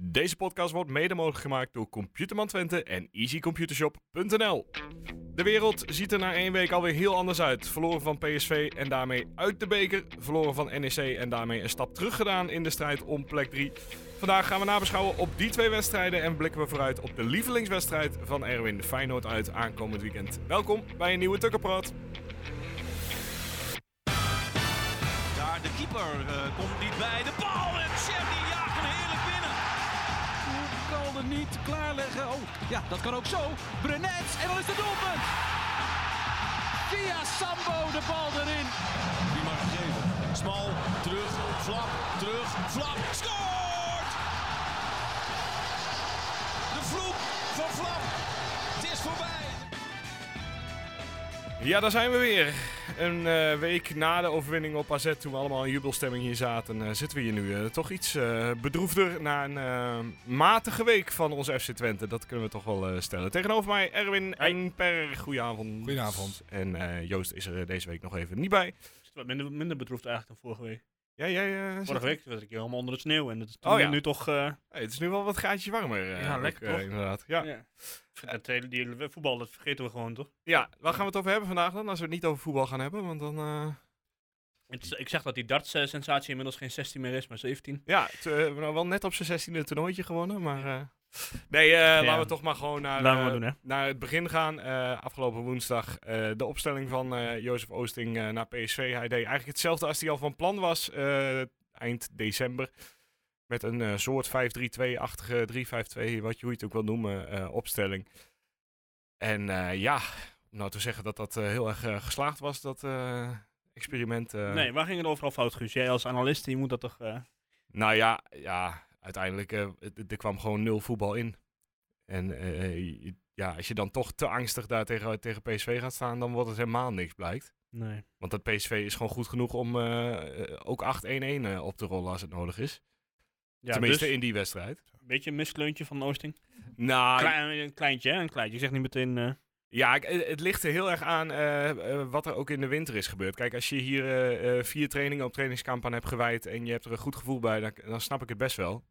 Deze podcast wordt mede mogelijk gemaakt door Computerman Twente en easycomputershop.nl. De wereld ziet er na één week alweer heel anders uit. Verloren van PSV en daarmee uit de beker. Verloren van NEC en daarmee een stap terug gedaan in de strijd om plek 3. Vandaag gaan we nabeschouwen op die twee wedstrijden en blikken we vooruit op de lievelingswedstrijd van Erwin Feyenoord uit aankomend weekend. Welkom bij een nieuwe Tukkenpraat. Daar de keeper eh, komt niet bij. De bal en Chevy jaagt hem heerlijk binnen. Kalde niet klaarleggen. Oh, ja, dat kan ook zo. Brenets en dan is het doelpunt. Via Sambo de bal erin. Die mag geven. Smal, terug, flap, terug, flap. Scoort! De vloek van flap. Het is voorbij. Ja, daar zijn we weer. Een eh, week na de overwinning op AZ, toen we allemaal in jubelstemming hier zaten, eh, zitten we hier nu eh, toch iets eh, bedroefder na een eh, matige week van ons FC Twente. Dat kunnen we toch wel eh, stellen. Tegenover mij Erwin Engper, goedenavond. Goedenavond. En eh, Joost is er eh, deze week nog even niet bij. Het is wat minder, minder bedroefd eigenlijk dan vorige week. Ja, jij... eh, zit- Vorige week zat ik hier helemaal onder het sneeuw en het is Oh toen- ja. nu toch... eh, Hey, het is nu wel wat gaatje warmer. eh, Ja, ook, lekker eh, toch? inderdaad. Ja. ja. Dat hele die voetbal, dat vergeten we gewoon toch? ja, waar gaan we het over hebben vandaag dan? Als we het niet over voetbal gaan hebben, want dan... eh, Het is- ik zeg dat die darts-sensatie inmiddels geen 16 meer is, maar 17. Ja, het, eh, we hebben nou wel net op zijn 16e toernooitje gewonnen, maar... eh, nee, eh, laten we toch maar gewoon naar, Laten we eh, maar doen, hè. naar het begin gaan. Eh, afgelopen woensdag eh, de opstelling van eh, Jozef Oosting eh, naar PSV. Hij deed eigenlijk hetzelfde als hij al van plan was eh, eind december. Met een eh, soort 5-3-2-achtige 3-5-2, wat je hoe je het ook wil noemen, eh, opstelling. En eh, ja, om nou te zeggen dat dat eh, heel erg eh, geslaagd was, dat eh, experiment. eh, Nee, waar ging het overal fout, Guus? Jij als analist, die moet dat toch... eh, nou ja, ja uiteindelijk eh, het- er kwam gewoon nul voetbal in. En eh, je- ja, als je dan toch te angstig daar tegen, tegen PSV gaat staan, dan wordt het helemaal niks blijkt. nee. Want dat PSV is gewoon goed genoeg om eh, eh, ook 8-1-1 eh, op te rollen als het nodig is. Ja, Tenminste dus, in die wedstrijd. een beetje een misleuntje van Oosting. Nou, Klein, een kleintje, hè? Een kleintje. Ik zeg niet meteen... eh, Ja, ik- het het ligt er heel erg aan eh, eh, wat er ook in de winter is gebeurd. Kijk, als je hier eh, eh, vier trainingen op trainingskamp aan hebt gewijd en je hebt er een goed gevoel bij, dan, dan snap ik het best wel.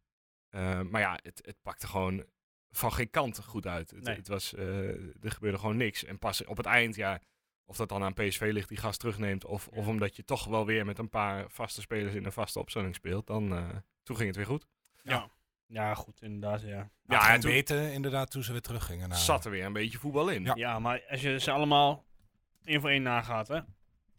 Eh, maar ja, het, het pakte gewoon van geen kant goed uit. Het, Nee. het was, eh, er gebeurde gewoon niks. En pas op het eind, ja, of dat dan aan PSV ligt die gas terugneemt, of, of omdat je toch wel weer met een paar vaste spelers in een vaste opstelling speelt, dan eh, toen ging het weer goed. ja. ja, goed, inderdaad, ja. Ja, Ja, en en toen- weten inderdaad toen ze weer teruggingen. naar- Zat er weer een beetje voetbal in. Ja. Ja, maar als je ze allemaal één voor één nagaat, hè?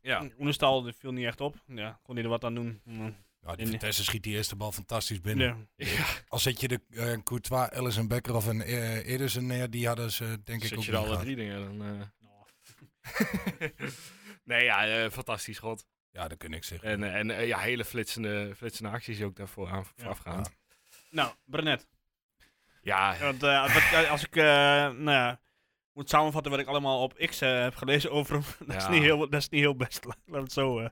Ja. Oenestal die viel niet echt op. Ja, kon hij er wat aan doen. Mm, Nou, die in- Vitesse schiet die eerste bal fantastisch binnen. Nee. Als zet je de eh Courtois, Ellison Becker of een eh Ederson neer, die hadden ze denk ik Zet ook je er niet alle gehad. drie dingen dan... eh, Nou, nee, ja, eh, fantastisch schot. Ja, dat kun ik zeggen. En, eh, en eh, ja, hele flitsende, flitsende acties ook daarvoor aan, voorafgaand. Nou, Brenet. Ja, Ja, Want eh, wat- eh, als ik eh, nou ja, moet samenvatten wat ik allemaal op X eh, heb gelezen over hem, dat, Ja. is niet heel, dat is niet heel best. Laat laat het zo. eh.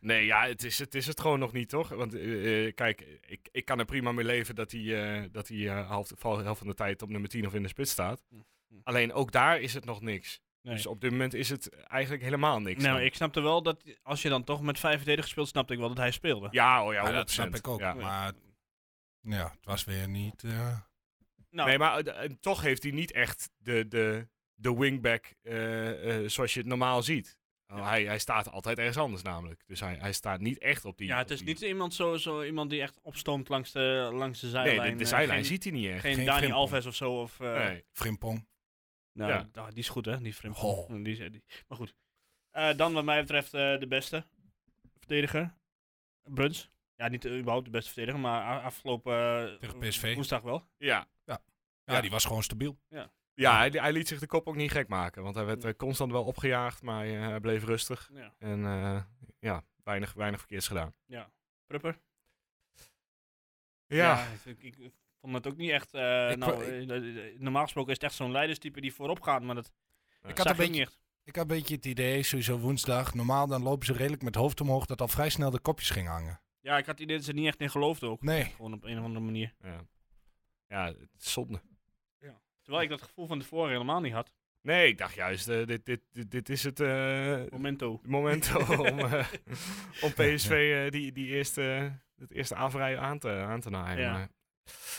nee, ja, het is, het is het gewoon nog niet, toch? Want eh, eh, kijk, ik, ik kan er prima mee leven dat hij, eh, dat hij eh, half, val- helft van de tijd op nummer 10 of in de spits staat. Hm. Alleen ook daar is het nog niks. Nee. Dus op dit moment is het eigenlijk helemaal niks. nou, dan. ik snapte wel dat als je dan toch met vijf verdedigers speelt, snapte ik wel dat hij speelde. Ja, oh ja, 100%. Ja, Ah, dat snap ik ook. Ja. Maar ja, het was weer niet... eh, Nou, Nee, maar eh, eh, toch heeft hij niet echt de, de, de wingback eh, eh, zoals je het normaal ziet. Nou, hij, hij staat altijd ergens anders namelijk. Dus hij, hij staat niet echt op die... ja, het op is die- niet iemand, zo, zo, iemand die echt opstoomt langs de, langs de zijlijn. Nee, de, de eh, zijlijn geen, ziet hij niet echt. Geen, Geen Dani Frimpong. Alves of zo. Of, eh, nee. Frimpong. Nou, Ja. da- die is goed hè, die Frimpong. Goh. Die, is- die- maar goed. Eh, dan wat mij betreft eh, de beste verdediger. Bruns. Ja, niet eh, überhaupt de beste verdediger, maar a- afgelopen eh, Tegen PSV. woensdag wel. Ja. Ja, Ja. die was gewoon stabiel. Ja, hij, hij liet zich de kop ook niet gek maken. Want hij werd eh, constant wel opgejaagd, maar eh, hij bleef rustig. Ja. En eh, ja, weinig, weinig verkeerds gedaan. Prupper. Ja, ik, ik- ik vond het ook niet echt... eh, Ik nou, wa- ik- eh, eh, eh, normaal gesproken is het echt zo'n leiderstype die voorop gaat, maar dat Ik had zag een je ook niet echt. Ik had een beetje het idee, sowieso woensdag, normaal dan lopen ze redelijk met hoofd omhoog, dat al vrij snel de kopjes gingen hangen. Ja, ik had het idee dat ze er niet echt in geloofden ook. Nee, Gewoon op een of andere manier. ja. ja het is zonde. Terwijl ik dat gevoel van tevoren helemaal niet had. Nee, ik dacht juist, eh, dit, dit, dit, dit is het eh, Momento. moment om, eh, om PSV eh, die, die eerste, het eerste aanvrij aan te, aan te naaien. Ja. Maar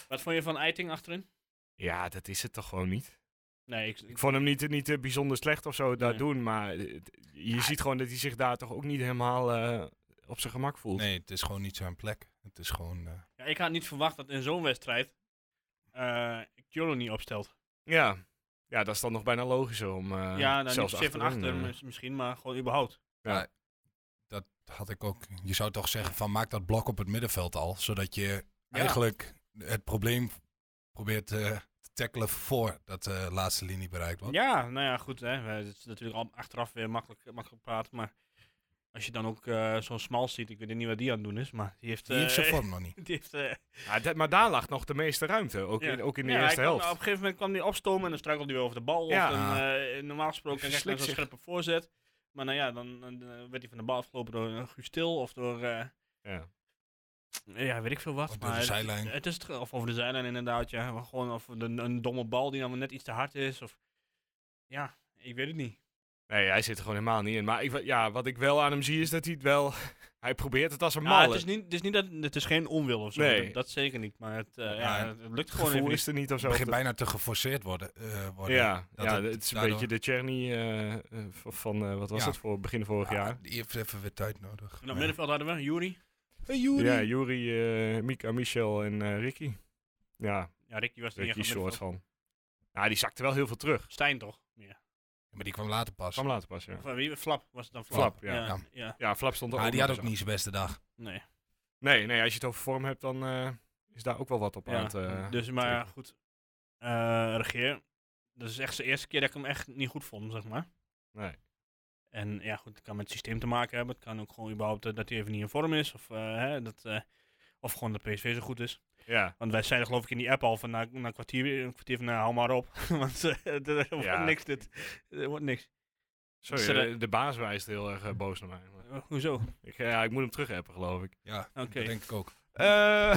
Wat vond je van Eiting achterin? Ja, dat is het toch gewoon niet? Nee, ik, Ik vond hem niet, niet eh, bijzonder slecht of zo daar Nee. doen, maar eh, het- je ziet gewoon dat hij zich daar toch ook niet helemaal eh, op zijn gemak voelt. Nee, het is gewoon niet zijn plek. Het is gewoon... eh, ja, ik had niet verwacht dat in zo'n wedstrijd eh Jolo niet opstelt. Ja. ja, dat is dan nog bijna logischer om eh, ja, dan niet zelfs per se van achterin, achter eh, mis- misschien, maar gewoon überhaupt. dat had ik ook. Je zou toch zeggen van maak dat blok op het middenveld al. Zodat je Ja. eigenlijk het probleem probeert eh, te tackelen voordat de laatste linie bereikt wordt. Ja, nou ja, goed. Hè. We- Het is natuurlijk al achteraf weer makkelijk, makkelijk praten, maar als je dan ook eh, zo'n smal ziet, ik weet niet wat die aan het doen is, maar die heeft... Die heeft eh, zijn vorm nog niet. die heeft, eh, ja, Ah, dat- maar daar lag nog de meeste ruimte, ook, Ja. in, ook in de Ja, hij eerste kwam- helft. op een gegeven moment kwam hij opstomen en dan struikelde hij over de bal. Ja. Of dan, eh, normaal gesproken krijg je Verslikt zo'n zich. scherpe voorzet. Maar nou ja, dan, dan, eh, werd hij van de bal afgelopen door een Guus Til of door, eh, Ja. ja, weet ik veel wat. Of door maar eh, de het- zijlijn. Het is, het- of over de zijlijn inderdaad, ja. Maar gewoon of een, een domme bal die dan net iets te hard is. Of, ja, ik weet het niet. Nee, hij zit er gewoon helemaal niet in. Maar ik, wa- ja, wat ik wel aan hem zie is dat hij het wel... hij probeert het als een Maar malle. het, is niet, het, is niet dat, het is geen onwil of zo. Nee. Dat, dat zeker niet. Maar het, eh, ja, Ja, het lukt het gewoon even gevoel niet. is er niet of zo. Het begint Dat- bijna te geforceerd worden. eh, worden. ja, dat ja, het het is een daardoor- beetje de Cherny eh, eh, van, van, eh, wat was Ja. dat voor begin vorig Ja, jaar? Ah, Die heeft even weer tijd nodig. En op middenveld hadden we Jury. Hey, Joeri. Ja, Juri, eh, Mika, Michel en eh, Ricky. Ja, Ja, Rick die was niet echt Ricky op soort middenveld. van. Ja, die zakte wel heel veel terug. Stijn toch? Ja. Maar die kwam later pas. Kwam later pas, ja. Of, eh, wie, Flap was het dan Flap, Flap? ja. Ja, Ja. ja. Ja, Flap stond er Maar Ah, die had nog ook eens niet zijn beste dag. nee. aan. Nee, nee, als je het over vorm hebt, dan eh, is daar ook wel wat op Ja. aan het... eh, dus maar trekken. goed, Eh regeer. Dat is echt de eerste keer dat ik hem echt niet goed vond, zeg maar. Nee. En ja, goed, het kan met het systeem te maken hebben. Het kan ook gewoon überhaupt eh, dat hij even niet in vorm is. Of, eh, hè, dat, eh, of gewoon dat PSV zo goed is. Ja, Want wij zeiden geloof ik in die app al van na, na een kwartier, een kwartier van nou, hou maar op. Want eh, er wordt Ja. niks dit. Er wordt niks. sorry, Is er, eh, de baas wijst heel erg eh, boos naar mij. maar Eh, hoezo? Oké. Ik, ja, ik moet hem terug appen, geloof ik. Ja, dat denk ik ook.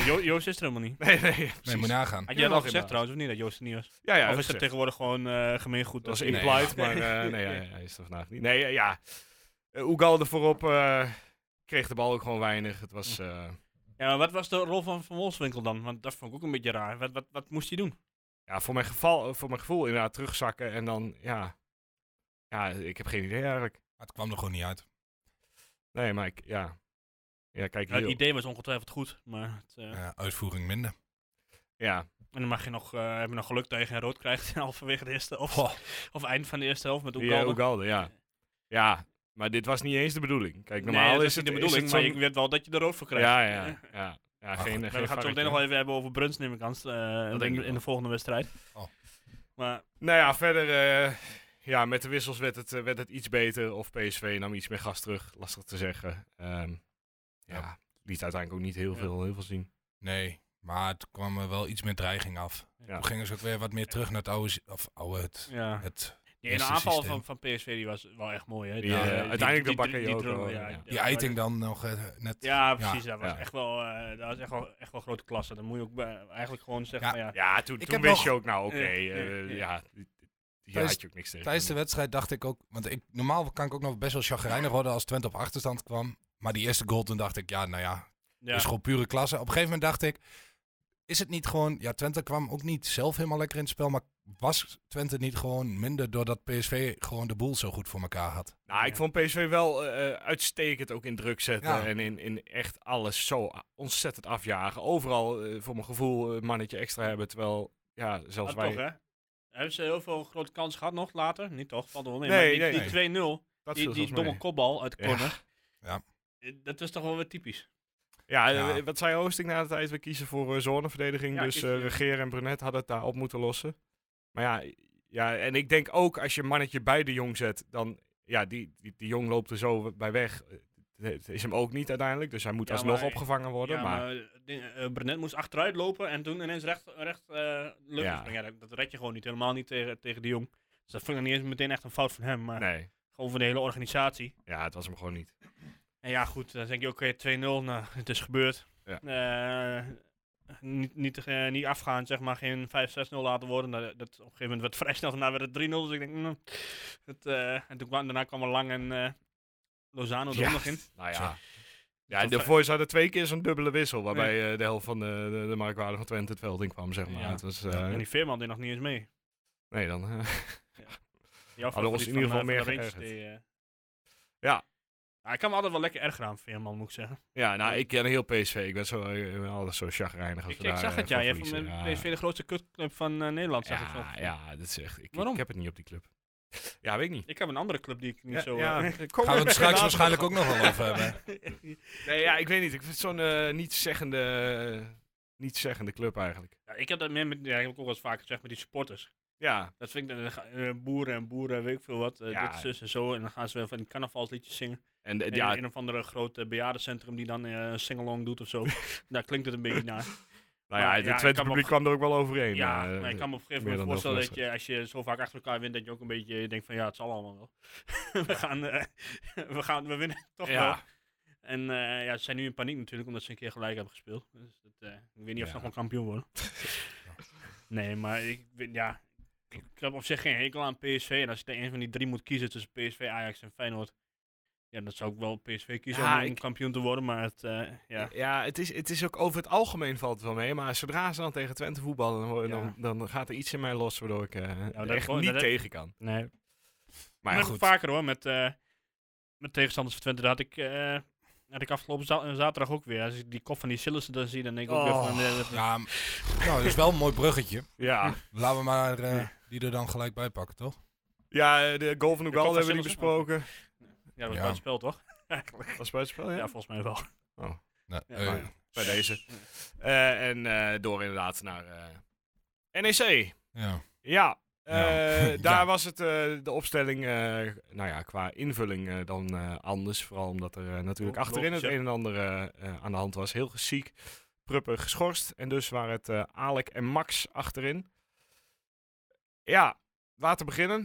Jo- Joost is er helemaal niet. nee, nee, ja, Eh. Nee, precies. moet nou- nagaan. Had Ja, jij dat nog al gezegd inderdaad. trouwens, of niet, dat Joost er niet was? ja, ja, of is dat gezegd. tegenwoordig gewoon eh gemeengoed? Dat was dat ze- Nee, implied, maar eh, nee, hij, hij is er vandaag niet. Nee, eh, ja. Eh, Ugalde voorop eh, kreeg de bal ook gewoon weinig. Het was... Hm. eh, Ja, maar wat was de rol van Van Wolfswinkel dan? Want dat vond ik ook een beetje raar. Wat, wat, wat moest hij doen? ja, voor mijn, geval, eh, voor mijn gevoel inderdaad terugzakken en dan, ja... Ja, ik heb geen idee eigenlijk. Maar het kwam er gewoon niet uit. Nee, maar ik, ja... Ja, kijk Ja, het hier. idee was ongetwijfeld goed, maar... Het, eh, Eh, uitvoering minder. Ja, En dan mag je nog, eh heb je nog geluk dat je geen rood krijgt halverwege de eerste of, Goh. of eind van de eerste helft met Ja, Oegalde. Ugalde, ja. Ja, maar dit was niet eens de bedoeling. Kijk, normaal nee, dat is niet het de bedoeling, maar je ik weet wel dat je er rood voor krijgt. Ja, Eh, ja, ja. ja geen, goed, geen maar we gaan het zo varkentje. meteen nog wel even hebben over Bruns, neem ik aan, eh, denk in, ik wel. in de volgende wedstrijd. Oh. Maar Nou ja, verder... eh, ja, met de wissels werd het, eh, werd het iets beter. Of PSV nam iets meer gas terug. Lastig te zeggen. Ehm, ja, Ja. liet uiteindelijk ook niet heel Ja. veel, heel veel zien. Nee, maar het kwam er wel iets meer dreiging af. Ja. Toen gingen ze ook weer wat meer terug naar het oude... sy- Of oude, het... ja, het die ene eerste aanval systeem. van, van PSV die was wel echt mooi. Hè? Die, Ja, eh, die- uiteindelijk die- de bakker die- je die ook dribbel, wel, ja, ja. die maar eiting dan nog eh, net... Ja, precies. dat, was ja. Echt wel, eh, dat was echt wel, echt wel grote klasse. Dan moet je ook bij- eigenlijk gewoon zeggen, Ja. van, ja. Ja, toen, Ik toen heb wist nog- je ook, nou oké, Eh, eh, eh, eh. ja, die- die Tijdens- had je ook niks tegen. Tijdens de wedstrijd dacht ik ook, want ik, normaal kan ik ook nog best wel chagrijnig worden als Twente op achterstand kwam. Maar die eerste goal, toen dacht ik, ja, nou ja, Dus ja. is gewoon pure klasse. Op een gegeven moment dacht ik, is het niet gewoon, ja, Twente kwam ook niet zelf helemaal lekker in het spel. Maar was Twente niet gewoon minder doordat PSV gewoon de boel zo goed voor elkaar had? Nou, ik vond PSV wel eh, uitstekend ook in druk zetten. Ja. En in, in echt alles zo a- ontzettend afjagen. Overal, eh, voor mijn gevoel, een mannetje extra hebben. Terwijl, ja, zelfs Maar wij... toch, hè? Hebben ze heel veel grote kansen gehad nog later? Niet toch? Valt er wel mee. Nee, Maar die- nee, die nee. 2-0, dat die, viel die zelfs mee. domme kopbal uit de Ja. corner. Ja. Eh, Dat is toch wel weer typisch. Ja, eh, Ja. wat zei Oosting na de tijd? We kiezen voor eh, zoneverdediging. Ja, dus kiezen, eh, ja. Regeer en Brunet hadden het daar op moeten lossen. Maar ja, ja, en ik denk ook als je een mannetje bij de jong zet, dan... Ja, die, die, die jong loopt er zo bij weg. Eh, Het is hem ook niet uiteindelijk, dus hij moet Ja, alsnog maar- opgevangen worden. ja, maar, maar eh, ding- eh, Brenet moest achteruit lopen en toen ineens recht, recht eh lucht Ja. ja. ja, dat, dat red je gewoon niet. Helemaal niet tegen, tegen de jong. Dus dat vond ik dan niet eens meteen echt een fout van hem, maar nee, gewoon van de hele organisatie. ja, het was hem gewoon niet. En ja, goed, dan denk je, oké, 2-0, nou, het is gebeurd. Ja. Eh, niet, niet, eh, niet afgaan, zeg maar, geen 5-6-0 laten worden. Nou, Dat, dat, op een gegeven moment werd vrij snel, daarna werd het 3-0, dus ik denk, mm, het, eh, en toen kwam, daarna kwam er Lang en eh, Lozano er Ja. ook nog in. Nou ja, Zo. Ja, de Voice hadden twee keer zo'n dubbele wissel. Waarbij eh, de helft van de, de, de marktwaarde van Twente het veld in kwam, zeg maar. Ja. Het was, eh, En die Veerman deed nog niet eens mee. Nee, dan. eh, Die afval Hadden van ons die in ieder van, geval eh, meer van de Rangers, geërgerd. die, eh, Ja. Hij kan me altijd wel lekker erger aan, Veerman, moet ik zeggen. ja, nou, ik ken heel PSV. Ik ben, zo, eh, ik ben altijd zo chagrijnig als Ik, we ik daar, zag eh, het, ja. van Je hebt verliezen. hem Ja. PSV de grootste kutclub van eh, Nederland, zag ik ja, nog. ja, dat is echt. Ik, Waarom? ik heb het niet op die club. Ja, weet ik niet. Ik heb een andere club die ik niet zo... eh, Gaan we het straks waarschijnlijk ook nog wel over hebben. Nee, ja, ik weet niet. Ik vind het zo'n eh, nietszeggende, nietszeggende club eigenlijk. Ja, ik heb dat meer met, ja, ik heb ook wel eens vaker gezegd met die supporters. Ja, Dat vind ik, dan ga- eh, boeren en boeren, weet ik veel wat, eh, Ja. dit, zus en zo. En dan gaan ze weer van die carnavalsliedjes zingen. en eh, In ja, een of andere grote bejaardencentrum die dan eh, een singalong doet of zo. Daar klinkt het een beetje naar. nou ja, maar het ja, ik Twente kan me publiek op- kwam er ook wel overheen. ja, eh, maar ik kan me op een gegeven meer moment dan voorstellen heel dat je, als je zo vaak achter elkaar wint, dat je ook een beetje denkt van ja, het zal allemaal wel. we, gaan, eh, we gaan, we winnen toch wel. ja, En eh, ja, ze zijn nu in paniek natuurlijk, omdat ze een keer gelijk hebben gespeeld. Dus dat, eh, ik weet niet of ze Ja. nog wel kampioen worden. nee, maar ik, weet- ja, ik, ik heb op zich geen hekel aan PSV. En als je er een van die drie moet kiezen tussen PSV, Ajax en Feyenoord, ja, dan zou ik wel PSV kiezen Ja, om ik- kampioen te worden. Maar het, eh, ja. ja. het, is, het is ook over het algemeen valt het wel mee. Maar zodra ze dan tegen Twente voetballen, dan, hoor- dan, dan gaat er iets in mij los waardoor ik eh, dat echt hoor- niet dat- tegen kan. Nee. Maar Maar goed. vaker hoor, met, eh, met tegenstanders van Twente. Dat had ik, eh, had ik afgelopen za- zaterdag ook weer. Als ik die kop van die Sillissen dan zie, dan denk ik ook Oh. weer van... eh, dat- Ja, m- nou, dat is wel een mooi bruggetje. Ja. Laten we maar eh, die er dan gelijk bij pakken, toch? ja, de goal van Ugalde kop van hebben we niet Sillissen. besproken. ja, dat Ja. was het spel toch? Was buitenspel, ja? Ja, volgens mij wel. Nee, Ja, eh, nou Bij deze. Eh, en eh, door inderdaad naar eh, NEC. ja. Ja, eh, Nou, daar ja. was het, eh, de opstelling, eh, nou ja, qua invulling eh, dan eh, anders. Vooral omdat er eh, natuurlijk Lo- achterin het logisch, ja. een en ander eh, eh, aan de hand was. Heel ziek, Pruppen geschorst. En dus waren het eh, Alek en Max achterin. Ja, laten we beginnen.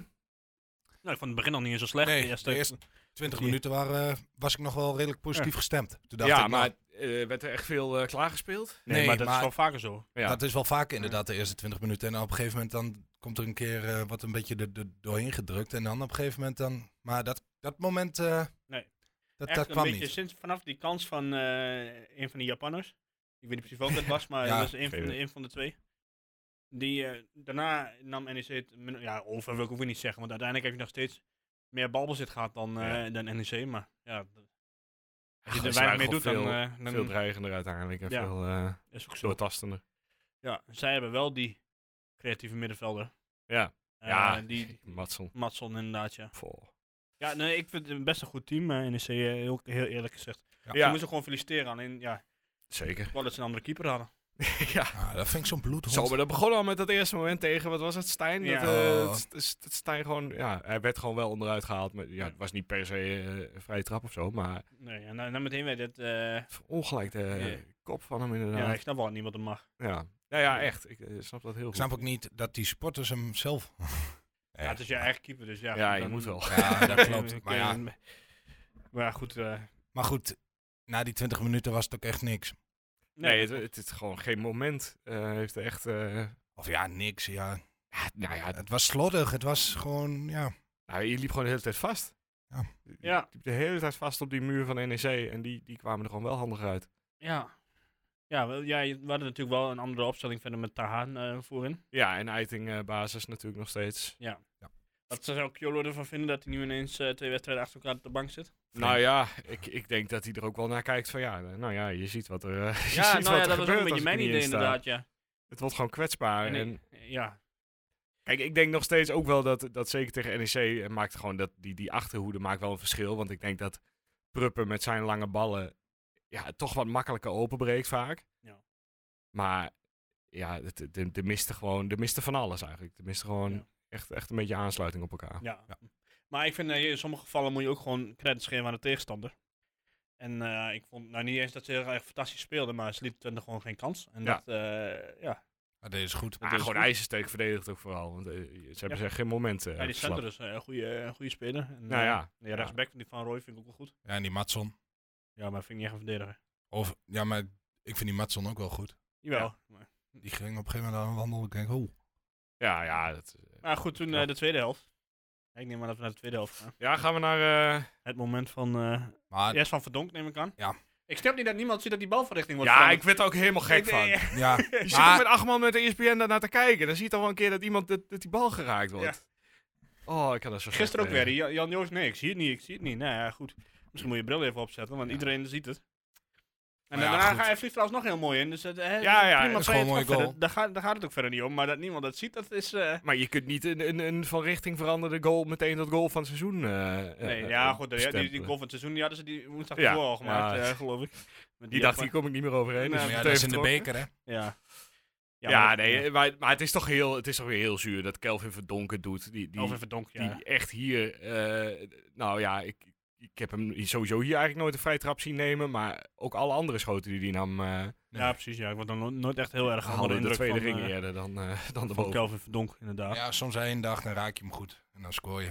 Nou, ik vond het begin al niet eens zo slecht. Nee, de eerste, de eerste- 20 Die- minuten waren, eh, was ik nog wel redelijk positief gestemd. Toen dacht ja, ik, nou, maar maar eh, werd er echt veel eh, klaargespeeld. nee, Nee, maar dat maar- is wel vaker zo. ja. dat is wel vaak inderdaad de eerste 20 minuten. En dan op een gegeven moment dan komt er een keer eh, wat een beetje er, er doorheen gedrukt. En dan op een gegeven moment dan... Maar dat, dat moment, eh, Nee. dat, Echt dat een kwam beetje niet. sinds vanaf die kans van eh, een van die Japanners. Ik weet niet precies welke het was, maar Ja, dat was een van, geen de, een van de twee. Die, eh, daarna nam NEC het, min- ja, over wil ik ook weer niet zeggen, want uiteindelijk heb je nog steeds meer balbezit gehad dan, eh, dan NEC, maar ja, d- als je ze er waren weinig mee gewoon doet, dan, veel- eh, dan Veel dreigender uiteindelijk en Ja. veel eh is ook zo. doortastender. Ja, zij hebben wel die creatieve middenvelder. Ja. Eh, ja, Die Matson. Matson inderdaad, ja. Vol. Ja, nee, ik vind het best een goed team, eh, NEC, eh, heel, heel eerlijk gezegd. Ja. Ze Ja, moesten gewoon feliciteren, alleen ja, zeker. wel dat ze een andere keeper hadden. ja. Ah, dat vind ik zo'n bloedhond. Zo, maar dat begon al met dat eerste moment tegen, wat was het, Stijn? Ja. Dat, eh, Oh. het- het- het Stijn gewoon, ja, hij werd gewoon wel onderuit gehaald. Maar, ja, het was niet per se eh, een vrije trap of zo, maar Nee, en dan, dan meteen weer dit. eh, ongelijk de Ja. kop van hem ja, inderdaad. ik snap wel dat niemand het mag. Ja, ja. ja, echt. Ik eh, snap dat heel Ik goed. snap ook niet dat die supporters hem zelf... Ja, het is je eigen keeper, dus ja. ja, je dan- moet wel. Ja, dat klopt. Maar, ja, Oké, Maar ja, goed. eh, maar goed, na die 20 minuten was het ook echt niks. Nee, het, het is gewoon geen moment. eh, heeft er echt, eh, Of ja, niks. Ja. ja, nou ja, Het was slordig. Het was gewoon, ja... nou, je liep gewoon de hele tijd vast. Ja. Je Ja. liep de hele tijd vast op die muur van NEC en die, die kwamen er gewoon wel handig uit. ja. Ja, wel, ja, je- we hadden natuurlijk wel een andere opstelling verder met Tahaan eh, voorin. Ja, en Eiting eh, basis natuurlijk nog steeds. Wat zou Kyolo ervan vinden dat hij nu ineens eh, twee wedstrijden achter elkaar op de bank zit? Nou ja, ik, ik denk dat hij er ook wel naar kijkt van ja, nou ja, je ziet wat er eh, je Ja, ziet nou wat ja, er dat was ook gebeurt een als beetje ik mijn er niet idee in sta. inderdaad, ja. Het wordt gewoon kwetsbaar. En En ik- ja. kijk, ik denk nog steeds ook wel dat, dat zeker tegen NEC eh, maakt gewoon dat die, die achterhoede maakt wel een verschil. Want ik denk dat Pruppen met zijn lange ballen ja, het toch wat makkelijker openbreekt vaak. Ja. Maar ja, het- het- de, de miste gewoon, de miste van alles eigenlijk. De miste gewoon Ja. echt, echt een beetje aansluiting op elkaar. Ja. Ja. Maar ik vind eh, in sommige gevallen moet je ook gewoon credits geven aan de tegenstander. En eh, ik vond nou niet eens dat ze heel erg fantastisch speelden, maar ze lieten Twente gewoon geen kans. En Ja. dat, eh, ja. Maar deze is goed. Maar is Ah, gewoon goed. ijzersteek verdedigt ook vooral. Want eh, ze hebben Ja. zich geen momenten. ja, die verslapt. center is eh, een goede, een goede speler. En, Nou eh, ja. de rechtsback van die Van Roy vind ik ook wel goed. Ja, en die Matson. Ja, maar vind ik niet echt een verdediger. Of, ja, maar ik vind die Matson ook wel goed. Jawel. Ja. Maar, Die ging op een gegeven moment aan wandelen. Ik denk, oh. Ja, ja, dat, maar goed, toen eh, Ja. de tweede helft. Ik neem maar dat we naar de tweede helft gaan. Ja, gaan we naar. eh, Het moment van... eh Ah. Maar eerst van Verdonk neem ik aan. Ja. Ik snap niet dat niemand ziet dat die balverrichting wordt Ja, ik veranderd. werd er ook helemaal gek Ik- van. eh, Ja, Je zit toch maar met acht man met de E ESPN daarnaar te kijken. Dan zie je toch wel een keer dat iemand dat, dat die bal geraakt wordt. Oh, ik had dat zo slecht Gisteren ook tegen. weer. Jan- Jan Joost, nee, ik zie het niet, ik zie het niet. Nou ja, goed. Misschien moet je bril even opzetten, want iedereen ziet het. En Maar ja, daarna goed. ga hij vliegt trouwens nog heel mooi in. Dus het, hè, Ja, ja, prima dat is gewoon een vrije mooie trap verder. goal. Daar, gaat, daar gaat het ook verder niet om. Maar dat niemand dat ziet, dat is... eh, Maar je kunt niet een, een, een van richting veranderde goal meteen dat goal van het seizoen. eh, nee, eh, ja, eh, goed. Die, die, die bestempelen. goal van het seizoen, die hadden ze die woensdag Ja, ervoor al gemaakt, ja. eh, geloof ik. Maar Die dacht, had hier kom ik niet meer overheen. dus Nee, maar ja, meteen dat is in de vertrokken. beker, hè? maar- eh, Ja. Ja, nee, eh, Maar, maar het is toch heel, het is toch weer heel zuur dat Kelvin Verdonken doet. Die, die, Of even donk, ja. die echt hier, eh, nou ja, ik, ik heb hem sowieso hier eigenlijk nooit een vrije trap zien nemen. Maar ook alle andere schoten die hij nam eh Ja, precies. Ja, ik word dan no- nooit echt heel erg onder de hadden de indruk tweede van, ring eh, eerder dan, eh dan de van boven. Kelvin Verdonk, inderdaad. Ja, soms één dag, dan raak je hem goed. En dan scoor je.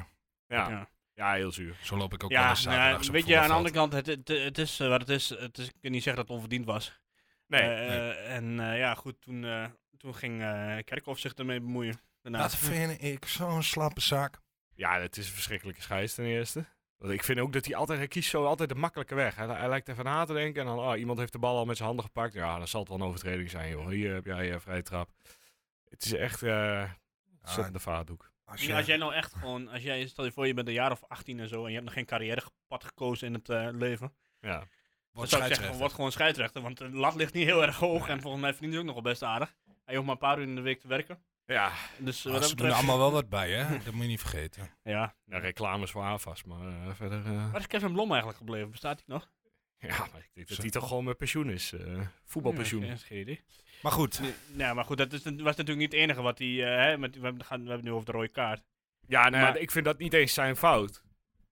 Ja. Ja. Ja, heel zuur. Zo loop ik ook wel Ja, eens nou ja, zaterdags op weet je, aan de andere voetbalveld. kant, het, het, het is eh, wat het is, het is. Ik kan niet zeggen dat het onverdiend was. Nee, Eh, En eh, ja, goed, toen, eh, toen ging eh Kerkhoff zich ermee bemoeien. Daarna. Dat vind ik zo'n slappe zaak. Ja, het is een verschrikkelijke scheids ten eerste. Want ik vind ook dat hij altijd, hij kiest zo altijd de makkelijke weg. Hij, hij lijkt even na te denken en dan, oh, iemand heeft de bal al met zijn handen gepakt. Ja, dan zal het wel een overtreding zijn, joh. Hier heb jij eh, vrije trap. Het is echt eh zet Ah, de vaatdoek. als Ja, je- als jij nou echt gewoon, als jij, stel je voor, je bent een jaar of 18 en zo en je hebt nog geen carrièrepad gekozen in het eh, leven. Ja. Dan wordt zou ik zeggen, scheidsrechter. word gewoon scheidsrechter, want de lat ligt niet heel erg hoog en volgens mij verdienen ze ook nog wel best aardig. Hij hoeft maar een paar uur in de week te werken. Ja, Dus eh, Maar wat dat Ah, ze doen er betreft, allemaal wel wat bij, hè? Dat moet je niet vergeten. ja. nou, reclames voor AFAS, maar eh, verder... eh, Waar is Kevin Blom eigenlijk gebleven? Bestaat hij nog? ja, maar ik denk dat hij toch gewoon met pensioen is. eh, voetbalpensioen. Ja, geen- geen idee. Maar goed, Nee, nou, maar goed, dat is, dat was natuurlijk niet het enige wat hij. eh, hè, met, we, hebben, gaan, we hebben het nu over de rode kaart. Ja, nou, ja, Maar- ik vind dat niet eens zijn fout.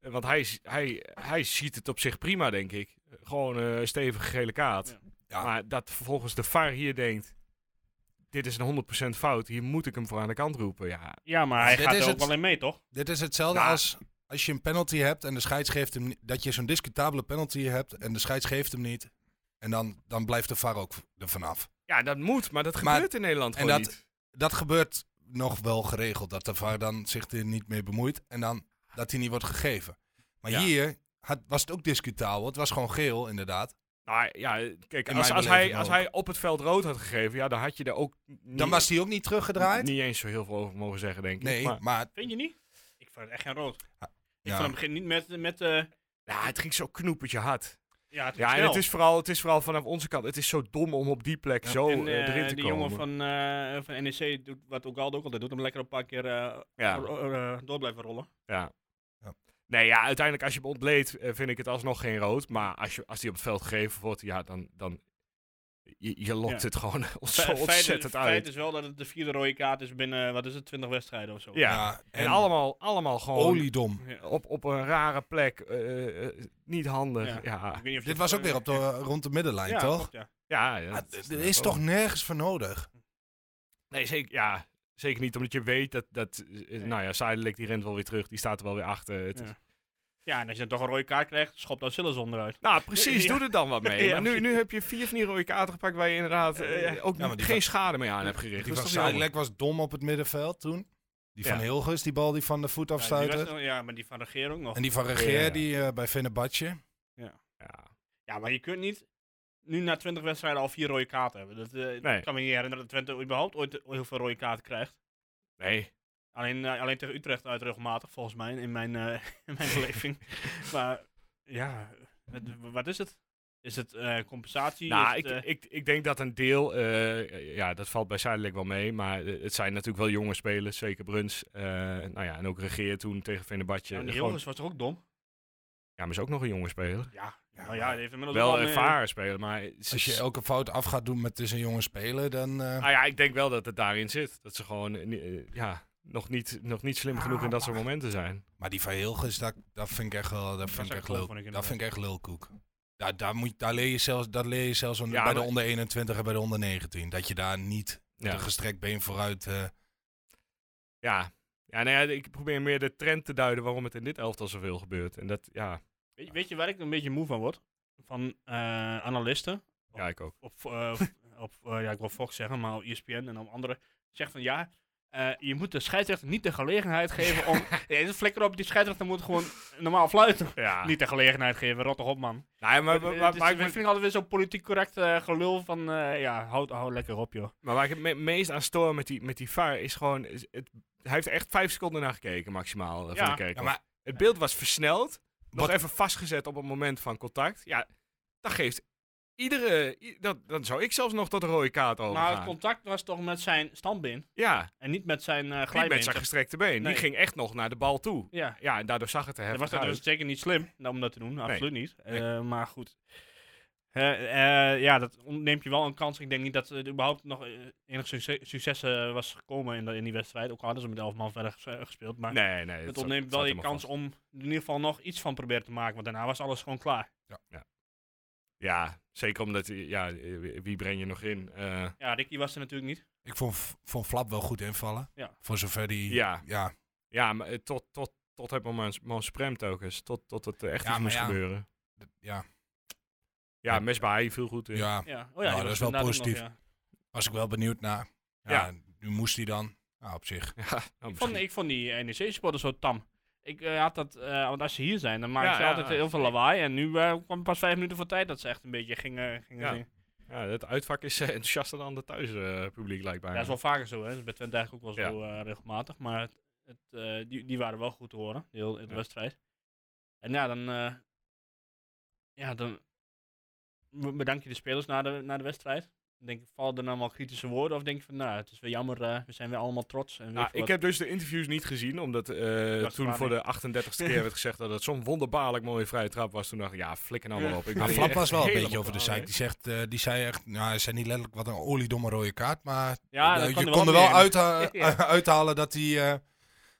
Eh, Want hij, z- hij, hij ziet het op zich prima, denk ik. Gewoon eh, een stevige gele kaart. Ja. Maar dat vervolgens de VAR hier denkt... Dit is een 100% fout, hier moet ik hem voor aan de kant roepen. Ja, Ja, maar hij Dit gaat is er ook het. wel in mee, toch? dit is hetzelfde Nou. als als je een penalty hebt en de scheids geeft hem niet- Dat je zo'n discutabele penalty hebt en de scheids geeft hem niet. En dan, dan blijft de VAR ook er vanaf. ja dat moet, maar dat Maar- gebeurt in Nederland en gewoon dat- niet. Dat gebeurt nog wel geregeld, dat de VAR dan zich er niet mee bemoeit en dan dat hij niet wordt gegeven. Maar Ja. hier had, was het ook discutabel. Het was gewoon geel, inderdaad. Nou ja, kijk, In als, mijn als, hij, beleving als ook. hij op het veld rood had gegeven... Ja, dan had je er ook niet, Dan was hij ook niet teruggedraaid. niet eens zo heel veel over mogen zeggen, denk ik. Nee, Maar, maar Vind je niet? Ik vond het echt geen rood. Ik ja. vond het begin niet met. met eh, ja, het ging zo knoepertje hard. ja, het Ja, en snel. het is, vooral, het is vooral vanaf onze kant. Het is zo dom om op die plek zo En, eh, eh, erin te die komen. jongen van, eh, van NEC doet wat Ogaldo ook altijd doet, hem lekker een paar keer eh, ja. ro- ro- ro- door blijven rollen. Ja. Ja. Nee, ja, uiteindelijk als je hem ontleedt, eh, vind ik het alsnog geen rood. Maar als, je, als die op het veld gegeven wordt, ja, dan... dan je, je lokt Ja. het gewoon ont- Fe- zo feit is- ontzettend Feit uit. is wel dat het de vierde rode kaart is binnen, wat is het, 20 wedstrijden of zo. Ja. ja, En, allemaal, allemaal gewoon oliedom. Ja. op, op een rare plek. eh, eh, niet handig. Ja, Ja. ja. Ik weet niet of je- Dit was ook weer op de, rond de middenlijn, Ja, toch? klopt, ja. ja, Ah, dat d- net er is ook. toch nergens voor nodig? Nee, zeker, ja, zeker niet, omdat je weet dat... dat eh, Nee. Nou ja, Zuidelijk die rent wel weer terug. Die staat er wel weer achter. Het Ja. is- ja, en als je dan toch een rode kaart krijgt, schopt dan Sillis onderuit. Nou, precies. Ja. Doe er dan wat mee. Ja, Maar nu, precies. nu heb je vier van die rode kaarten gepakt waar je inderdaad eh, Ja, ja. ook Ja, maar die geen van- schade mee aan hebt gericht. Die Dat van is toch jammer? Sidlek was dom op het middenveld toen. Die van Ja. Hilgers, die bal die van de voet Ja, die afstuitte. was nog- ja, maar die van Regeer ook nog. en die van Regeer, Ja, ja. die eh, bij Fenerbahce. Ja. Ja, maar je kunt niet nu na 20 wedstrijden al vier rode kaarten hebben. Dat, eh, Nee. Ik kan me niet herinneren dat Twente überhaupt ooit heel veel rode kaarten krijgt. Nee. Alleen, eh, alleen tegen Utrecht uit regelmatig, volgens mij, in mijn, eh, in mijn beleving. Maar ja, het- wat is het? Is het eh, compensatie? Nou, Is het, ik, eh, ik, ik denk dat een deel, eh, ja, dat valt bij Zuidelijk wel mee. Maar eh, het zijn natuurlijk wel jonge spelers, zeker Bruns. eh, nou ja, en ook Regeer toen tegen Venebadje. ja, die gewoon- Hilgers was toch ook dom? ja, maar is ook nog een jonge speler. Ja, nou maar- ja, die heeft inmiddels ook Wel al meer- ervaren speler, maar... Als je ook... elke fout af gaat doen met het is een jonge speler, dan... eh, ah, ja, ik denk wel dat het daarin zit. Dat ze gewoon eh, ni- eh, ja, nog, niet, nog niet slim genoeg in dat soort momenten zijn. Maar die van Hilgers, dat, dat vind ik echt wel... Dat vind ik echt echt cool, leuk. vond Dat ik inderdaad. vind ik echt lulkoek. Daar, daar, moet, daar leer je zelfs, dat leer je zelfs aan- Ja, bij maar- de onder 21 en bij de onder 19. Dat je daar niet met Ja. een gestrekt been vooruit... eh, Ja. Ja, nou ja, ik probeer meer de trend te duiden waarom het in dit elftal zoveel gebeurt. En dat, ja, Weet, weet je waar ik een beetje moe van word? Van eh, analisten. ja ik ook. E op, eh, op eh, ja, ik wil Fox zeggen, maar op ESPN en op andere, zegt van ja, eh, je moet de scheidsrechter niet de gelegenheid geven om... Nee, dat flikker op, die scheidsrechter moet gewoon normaal fluiten. Ja. Niet de gelegenheid geven, rot toch op man. Nee, Ah. maar, maar, maar, Het is- maar ik ik vind ben- het altijd weer zo'n politiek correct eh, gelul van... eh, ja, houd, houd lekker op joh. maar waar ik het me- meest aan stoor met die, met die VAR is gewoon... is Het, hij heeft echt vijf seconden naar gekeken maximaal eh, Ja. van de kerk. Ja, maar Het beeld was versneld. Nog Wat- even vastgezet op het moment van contact. Ja, dat geeft iedere... i- dat, dan zou ik zelfs nog tot een rode kaart overgaan. Maar het contact was toch met zijn standbeen ja, en niet met zijn eh niet glijbeen. met zijn gestrekte been. Nee. Die ging echt nog naar de bal toe. Ja, Ja, en daardoor zag het er dat heftig was dat uit. was zeker niet slim nou, om dat te doen, absoluut niet. Eh, maar goed. Eh, eh, ja, dat ontneemt je wel een kans. Ik denk niet dat er überhaupt nog eh, enig succes, succes, eh, was gekomen in, de- in die wedstrijd. Ook al hadden ze met 11 man verder ges- eh, gespeeld. Maar Nee, nee. het zat- ontneemt zat wel je helemaal kans vast. om er in ieder geval nog iets van proberen te maken. Want daarna was alles gewoon klaar. Ja, zeker omdat... Ja, eh, wie wie breng je nog in? Eh, Ja, Ricky was er natuurlijk niet. ik vond, vond Flap wel goed invallen. Ja. Voor zover die... ja, ja, Ja, maar eh, tot, tot, tot het moment Mons Prem telkens. Tot, tot het eh, echt Ja, iets maar moest ja. gebeuren. d- ja, Ja, Mesbaai viel goed in. ja. Ja. Oh, Nou, ja, die dat was is wel inderdaad ook positief. nog, ja. Was ik wel benieuwd naar. Ja, Nu moest hij dan. Nou, op zich. Ja, nou, Ik vond, misschien- ik vond die NEC-supporters zo tam. Ik eh, had dat, eh, want als ze hier zijn, dan maken Ja, ze ja, altijd ja. heel veel lawaai. En nu eh, kwam pas vijf minuten voor tijd dat ze echt een beetje gingen, gingen Ja. zingen. ja, het uitvak is eh, enthousiaster dan het thuispubliek publiek lijkbaar. Ja, dat is wel vaker zo, hè. Dat is bij Twente eigenlijk ook wel Ja. zo eh, regelmatig. Maar het, het, eh, die, die waren wel goed te horen, de hele de Ja. wedstrijd. En ja, dan... eh, ja, dan be- bedank je de spelers na de, na de wedstrijd. Denk, je, vallen er nou allemaal kritische woorden? Of denk je van, nou, het is weer jammer, eh, we zijn weer allemaal trots. En weet Nou, je ik wat. heb dus de interviews niet gezien, omdat eh, dacht toen maar voor de 38ste keer werd gezegd dat het zo'n wonderbaarlijk mooie vrije trap was. Toen dacht ik, ja, flikker nou maar op. Ik ben Maar hier Flap echt was wel een beetje helemaal over de klaar zeik. mee. Die, zegt, eh, die zei echt, nou, hij zei niet letterlijk wat een oliedomme rode kaart, maar Ja, eh, dat je er kon er meer wel in. uitha- Ja. uithalen dat hij, eh,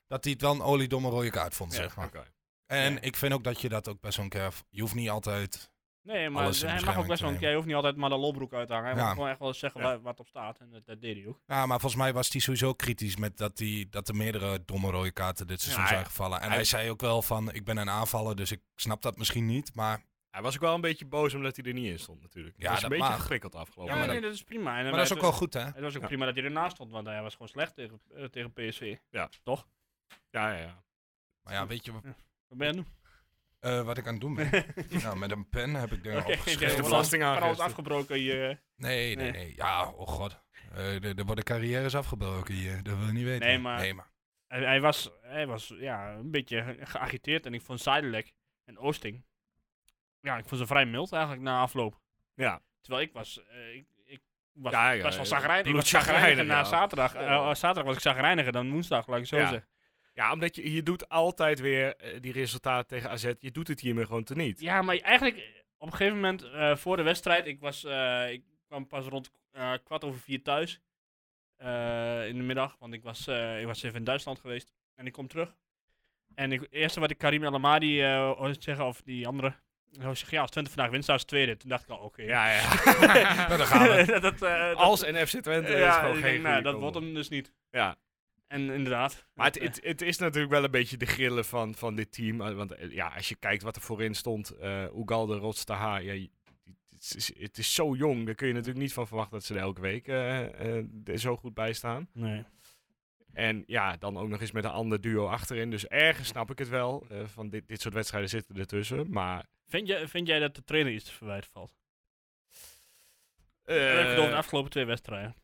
dat hij het wel een oliedomme rode kaart vond, Ja. zeg maar. Oké. En Ja. ik vind ook dat je dat ook bij zo'n kerf, je hoeft niet altijd, Nee, maar alles in hij mag ook bescherming best wel een te keer. Hij hoeft niet altijd maar de lolbroek uit te hangen. Hij Ja. mag gewoon echt wel eens zeggen Ja. waar, wat op staat. En dat, dat deed hij ook. ja, nou, maar volgens mij was hij sowieso kritisch met dat, die, dat er meerdere domme rode kaarten dit seizoen Ja, hij- zijn gevallen. En hij- hij, zei ook wel van, ik ben een aanvaller, dus ik snap dat misschien niet, maar, Hij was ook wel een beetje boos omdat hij er niet in stond natuurlijk. Ja, Ja, was een dat beetje mag. geprikkeld Ja, afgelopen. maar week. nee, dat is prima. En dan maar dat is werd- ook wel goed, hè? Het was ook Ja. prima dat hij ernaast stond, want hij was gewoon slecht tegen, eh, tegen PSV. ja, ja, ja. Maar ja, weet je wa- Wat ben je aan het doen? eh, wat ik aan het doen ben? nou, met een pen heb ik dingen Oké, De Ja, opgeschreven. voilà. Kan alles belastingaangifte. afgebroken. eh. Je... Nee, nee, Nee. nee. Ja, oh god. Eh, er er worden carrières afgebroken hier. Dat wil je niet weten. Nee, maar- Nee, maar. Hij, hij was, hij was ja, een beetje ge- geagiteerd. En ik vond Zijdelijk en Oosting... Ja, ik vond ze vrij mild eigenlijk na afloop. Ja. Terwijl ik was... eh, ik, ik was Ja, ja, best wel ja. chagrijnig. Ik was Bloedchagrijnig, chagrijniger na ja. Oh. zaterdag. Eh, eh, zaterdag was ik chagrijniger dan woensdag, laat ik zo Ja. zeggen. Ja, omdat je, je doet altijd weer eh, die resultaten tegen AZ. Je doet het hiermee gewoon teniet. Ja, maar eigenlijk eh, op een gegeven moment eh, voor de wedstrijd, ik, was, eh, ik kwam pas rond eh, kwart over vier thuis eh, in de middag, want ik was, eh, ik was even in Duitsland geweest en ik kom terug. En ik, het eerste wat ik Karim El Amadi eh, hoorde zeggen, of die andere, hij zegt ja, als Twente vandaag wint, staat ze tweede. Toen dacht ik al, oké. Ja, ja. Nou, daar gaan we. dat, dat, eh, dat- Als en FC Twente eh, is ja, gewoon ik geen denk, nou, goede dat combo. wordt hem dus niet. Ja. En inderdaad. Eh, Maar het, dat, het, het is natuurlijk wel een beetje de grillen van, van dit team. Eh, Want eh, ja, als je kijkt wat er voorin stond, eh Ugalde, Rotstaha, ja, je- het, is, het is zo jong. Daar kun je natuurlijk niet van verwachten dat ze er elke week eh, eh, er zo goed bij staan. eh, nee. En ja, dan ook nog eens met een ander duo achterin. Dus ergens snap ik het wel. eh, van dit, dit soort wedstrijden zitten ertussen. Maar. vind, jij, vind jij dat de trainer iets te verwijten valt? eh, Dat heb ik door de afgelopen twee wedstrijden.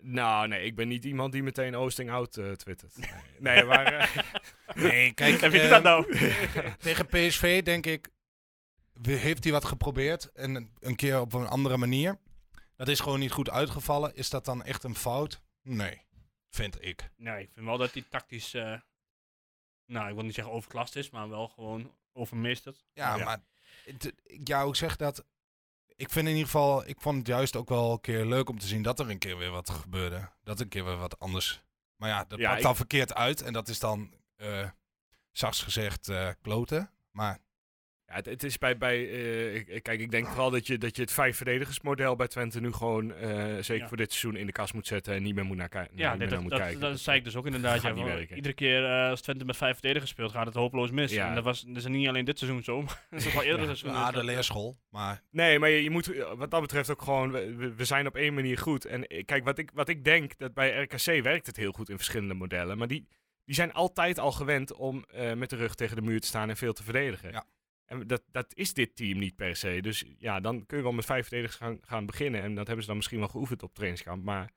nou, nee, ik ben niet iemand die meteen Oosting out eh, twittert. Nee, nee, maar. eh, Nee, kijk. Heb je eh, dat nou? tegen PSV denk ik. we- Heeft hij wat geprobeerd? En een- een keer op een andere manier. Dat is gewoon niet goed uitgevallen. Is dat dan echt een fout? Nee. Vind ik. Nee, ik vind wel dat hij tactisch, eh, nou ik wil niet zeggen overklast is, maar wel gewoon overmeesterd. Ja, Ja. maar. het- ja, ik zeg dat. Ik vind in ieder geval. Ik vond het juist ook wel een keer leuk om te zien dat er een keer weer wat gebeurde. Dat een keer weer wat anders. Maar ja, dat Ja, pakt ik- dan verkeerd uit. En dat is dan. eh zachts gezegd eh kloten. Maar Ja, het, het is bij, bij eh, ik- kijk, ik denk vooral dat je, dat je het vijf verdedigersmodel bij Twente nu gewoon, eh, zeker Ja. voor dit seizoen, in de kast moet zetten en niet meer moet naar, ki- Ja, niet nee, meer naar dat, moet dat, kijken. dat zei ik dus ook inderdaad. gaat Ja, niet want werken. iedere keer eh, als Twente met vijf verdedigers speelt, gaat het hopeloos mis. Ja. En dat, was, dat is niet alleen dit seizoen zo, maar dat is ook al eerder Ja. seizoen. Ja, Ah, de leerschool. Maar Nee, maar je, je moet eh, wat dat betreft ook gewoon, we- we, we zijn op één manier goed. En eh, kijk, wat ik, wat ik denk, dat bij RKC werkt het heel goed in verschillende modellen. Maar die, die zijn altijd al gewend om eh, met de rug tegen de muur te staan en veel te verdedigen. Ja. En dat, dat is dit team niet per se. Dus ja, dan kun je wel met vijf verdedigers gaan, gaan beginnen. En dat hebben ze dan misschien wel geoefend op trainingskamp. Maar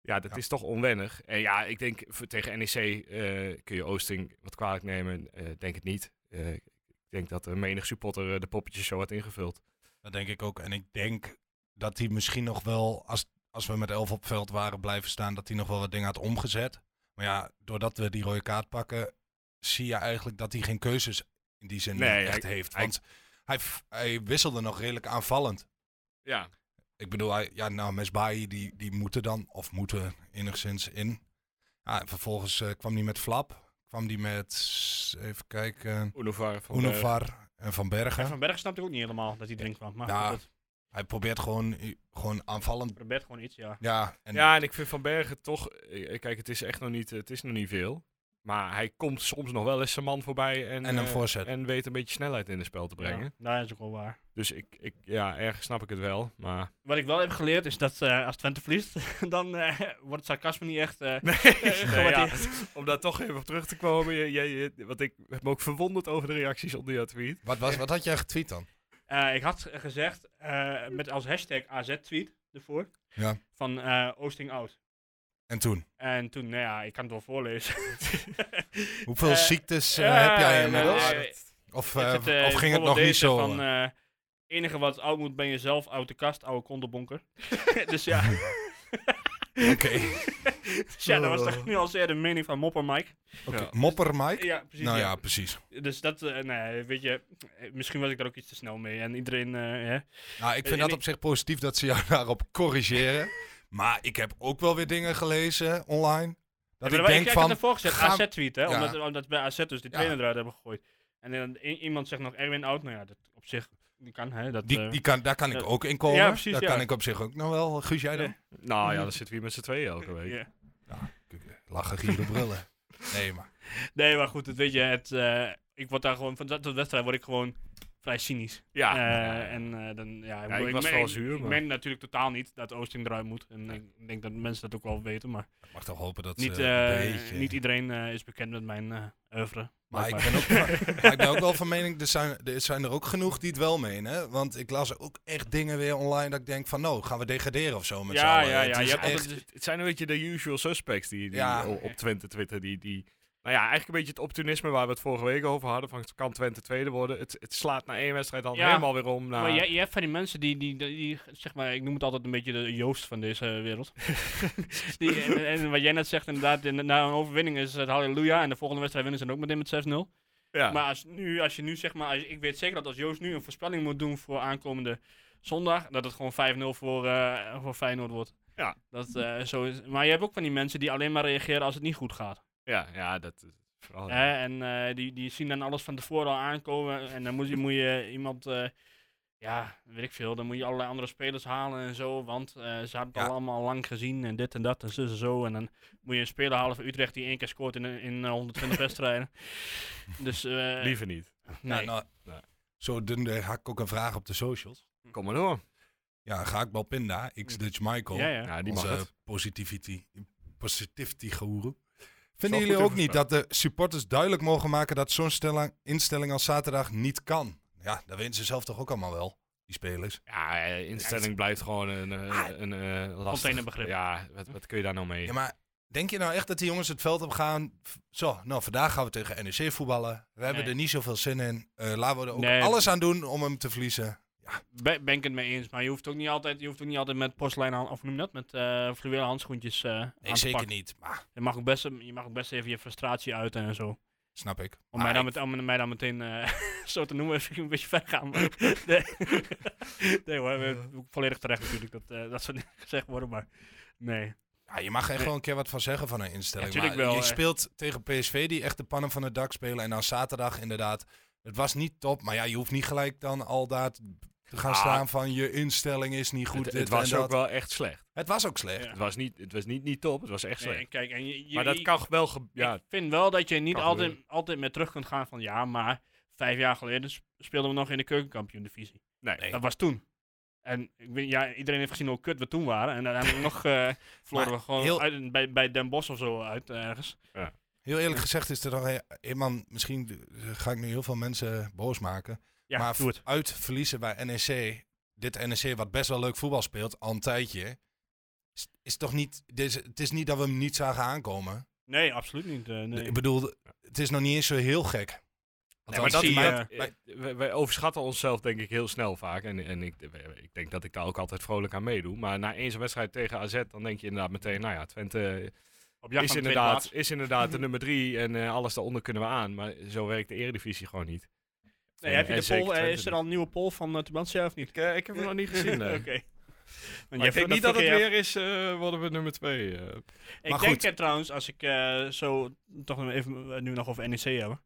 ja, dat Ja. is toch onwennig. En ja, ik denk voor- tegen NEC eh, kun je Oosting wat kwalijk nemen. Eh, denk het niet. Eh, ik denk dat er menig supporter eh, de poppetjes zo had ingevuld. dat denk ik ook. En ik denk dat hij misschien nog wel, als, als we met elf op veld waren blijven staan, dat hij nog wel wat dingen had omgezet. Maar ja, doordat we die rode kaart pakken, zie je eigenlijk dat hij geen keuzes in die zin Nee, echt hij- heeft. hij- Want hij, f- hij wisselde nog redelijk aanvallend. Ja, Ik bedoel, hij- ja, nou, Mesbahi, die, die moeten dan, of moeten enigszins in. Ja, en vervolgens eh, kwam hij met Flap. Kwam die met, s- even kijken, Unovar. Van Berg. Unovar en Van Bergen. Van Berg snapte ik ook niet helemaal dat hij erin kwam. Maar Ja. goed, dat Hij probeert gewoon, gewoon aanvallend. probeert gewoon iets, ja. Ja, en Ja, en ik vind Van Bergen toch... eh, Kijk, het is echt nog niet, het is nog niet veel. Maar hij komt soms nog wel eens zijn man voorbij. En, En een eh, voorzet. En weet een beetje snelheid in het spel te brengen. Ja, dat is ook wel waar. Dus ik, ik, ja, ergens snap ik het wel. Maar Wat ik wel heb geleerd is dat eh, als Twente verliest, dan eh, wordt het sarcasme niet echt... eh, nee, gewaardeerd. ja, om daar toch even op terug te komen. Je, je, je- want ik heb me ook verwonderd over de reacties onder jouw tweet. Wat, was, wat had jij getweet dan? Eh, ik had eh, gezegd, eh, met als hashtag AZ-tweet ervoor, Ja. van eh, Oosting out. En toen? En toen, nou ja, ik kan het wel voorlezen. Hoeveel Eh, ziektes eh, ja, heb jij nee, inmiddels? nee, nee. of, Ik eh, zit, eh, of ging het bijvoorbeeld nog niet deze zo? Van, eh, enige wat oud moet ben je zelf, oude kast, oude kondelbonker. dus ja, eh, eh, Oké, dus ja, dat was de genuanceerde mening van Mopper Mike. Oh. Oké, Ja. mopper Mike? Ja, precies. nou ja. ja, precies. Dus dat, eh, nee, weet je, eh, misschien was ik daar ook iets te snel mee. En iedereen, eh, hè. Nou, ik vind En dat ik- op zich positief dat ze jou daarop corrigeren. maar ik heb ook wel weer dingen gelezen online. Dat Ja, ik maar denk kijk, van, had ervoor gezet, ga- AZ-tweet, hè? Ja. Omdat, omdat bij AZ dus de Ja. trainer eruit hebben gegooid. En dan i- iemand zegt nog Erwin Oud, nou ja, dat op zich, die kan, hè? Dat, die, eh, die kan, daar kan ik ja. ook in komen. Ja, precies, daar ja. kan ik op zich ook nog wel. Guus, jij dan? Nou ja, dan zitten we hier met z'n tweeën elke week. ja. Lachen, gieren, brullen. Nee, maar Nee, maar goed, het, weet je, het, eh, ik word daar gewoon, van dat tot wedstrijd word ik gewoon vrij cynisch. Ah. Ja. Eh, en eh, dan, ja, bedoel, ik was men- wel zuur, Ik maar- meen natuurlijk totaal niet dat Oosting eruit moet. En ik denk dat mensen dat ook wel weten, maar ik mag toch hopen dat niet, ze eh, een beetje... niet iedereen eh, is bekend met mijn eh oeuvre. Maar ik Blijkbaar. ben, ook, maar ik ben ook wel van mening, er zijn, er zijn er ook genoeg die het wel menen. Want ik las ook echt dingen weer online dat ik denk van, nou, gaan we degraderen of zo met Ja, z'n allen. ja, Het ja, is je hebt echt- altijd- Het- Het zijn een beetje de usual suspects die, die Ja. o- op Twente Twitter. Die, die, nou ja, eigenlijk een beetje het opportunisme waar we het vorige week over hadden. Van kan Twente tweede worden? Het, het slaat na één wedstrijd dan Ja. helemaal weer om. Naar, Maar je, je hebt van die mensen die, die, die, die, zeg maar, ik noem het altijd een beetje de Joost van deze eh, wereld. die, en, en wat jij net zegt, inderdaad, in- na een overwinning is het halleluja. En de volgende wedstrijd winnen ze dan ook meteen met 6-0. ja. Maar als, nu, als je nu, zeg maar, als- ik weet zeker dat als Joost nu een voorspelling moet doen voor aankomende zondag, dat het gewoon 5-0 voor, eh, voor Feyenoord wordt. Ja. Dat, eh, zo is, maar je hebt ook van die mensen die alleen maar reageren als het niet goed gaat. ja, ja, dat is Oh, vooral. Hè, en eh, die, die zien dan alles van tevoren al aankomen. En dan moet je, moet je iemand, eh, ja, weet ik veel, dan moet je allerlei andere spelers halen en zo. Want eh, ze hebben het Ja. al allemaal lang gezien en dit en dat en zo en zo. En dan moet je een speler halen van Utrecht die één keer scoort in, in eh, 120 wedstrijden. Dus, eh, Liever niet. nee. Nou, nou, Nee. Zo dunde hak ik ook een vraag op de socials. Kom maar door. Ja, Gaakbal Pinda, ex-Dutch Michael, ja, ja. Ja, die mag onze het. positivity, positivity guru. Vinden goed jullie ook even niet dat de supporters duidelijk mogen maken dat zo'n stelling- instelling als zaterdag niet kan? Ja, dat weten ze zelf toch ook allemaal wel, die spelers. Ja, eh, instelling blijft gewoon een, eh, een, eh, lastig. Containerbegrip. Ja, wat, wat kun je daar nou mee? Ah. Ja, maar denk je nou echt dat die jongens het veld op gaan? F- Zo, nou vandaag gaan we tegen NEC voetballen. We hebben Nee. er niet zoveel zin in. Eh, laten we er ook Nee. alles aan doen om hem te verliezen. Ben, ben ik het mee eens, maar je hoeft ook niet altijd, je hoeft ook niet altijd met porselein aan, of hoe noem je dat, met eh fluwelen handschoentjes eh aan Nee, te zeker pakken. niet. Maar Je mag, ook best, je mag ook best even je frustratie uiten en zo. snap ik. Om, Maar mij dan, ik- met, om mij dan meteen eh, zo te noemen, vind ik een beetje ver gaan. maar- nee. nee hoor, we- we- volledig terecht natuurlijk dat, eh, dat soort dingen gezegd worden, maar nee. ja, je mag echt Nee. wel een keer wat van zeggen van een instelling. Ja, tuurlijk maar wel, je eh. speelt tegen PSV die echt de pannen van het dak spelen. En dan zaterdag inderdaad Het was niet top, maar ja, je hoeft niet gelijk dan al daar te gaan Ah. staan van je instelling is niet goed. het, dit het was en dat. ook wel echt slecht. het was ook slecht. Ja. Het was niet, het was niet, niet top, het was echt Nee, slecht. en kijk, en je, je- maar dat je- kan wel... ge- Ja, Ik vind wel dat je niet Kan altijd, gebeuren. altijd meer terug kunt gaan van ja, maar vijf jaar geleden sp- speelden we nog in de keukenkampioen-divisie. nee. Dat was toen. En ik weet, ja, iedereen heeft gezien hoe kut we toen waren. En uiteindelijk nog eh verloren we gewoon heel- uit, bij, bij Den Bosch of zo uit eh, ergens. Heel eerlijk gezegd is er nog een- een man, misschien eh, ga ik nu heel veel mensen boos maken. Ja, maar doe het. uit verliezen bij NEC, dit NEC wat best wel leuk voetbal speelt, al een tijdje. Is, is toch niet, deze, het is niet dat we hem niet zagen aankomen. Nee, absoluut niet. eh, nee. Ik bedoel, het is nog niet eens zo heel gek. Nee, maar dat, zie je- maar- eh, maar- eh, wij, wij overschatten onszelf denk ik heel snel vaak. En, en ik, eh, ik denk dat ik daar ook altijd vrolijk aan meedoe. Maar na eens een wedstrijd tegen AZ, dan denk je inderdaad meteen... Nou ja, Twente Op jacht is naar de tweede inderdaad, plaats. is inderdaad de nummer drie. En eh, alles daaronder kunnen we aan. Maar zo werkt de eredivisie gewoon niet. Nee, heb je en de zeker poll, eh, Twente is er al een nieuwe poll van uh, Tubantia of niet? Ik, eh, ik heb hem nog niet gezien. nee. Oké. Want Maar jij ik denk vond- niet dat het vond je- weer is, eh, worden we nummer twee. eh. Ik Maar denk goed. eh, trouwens, als ik eh, zo toch nog even eh, nu nog over NEC hebben.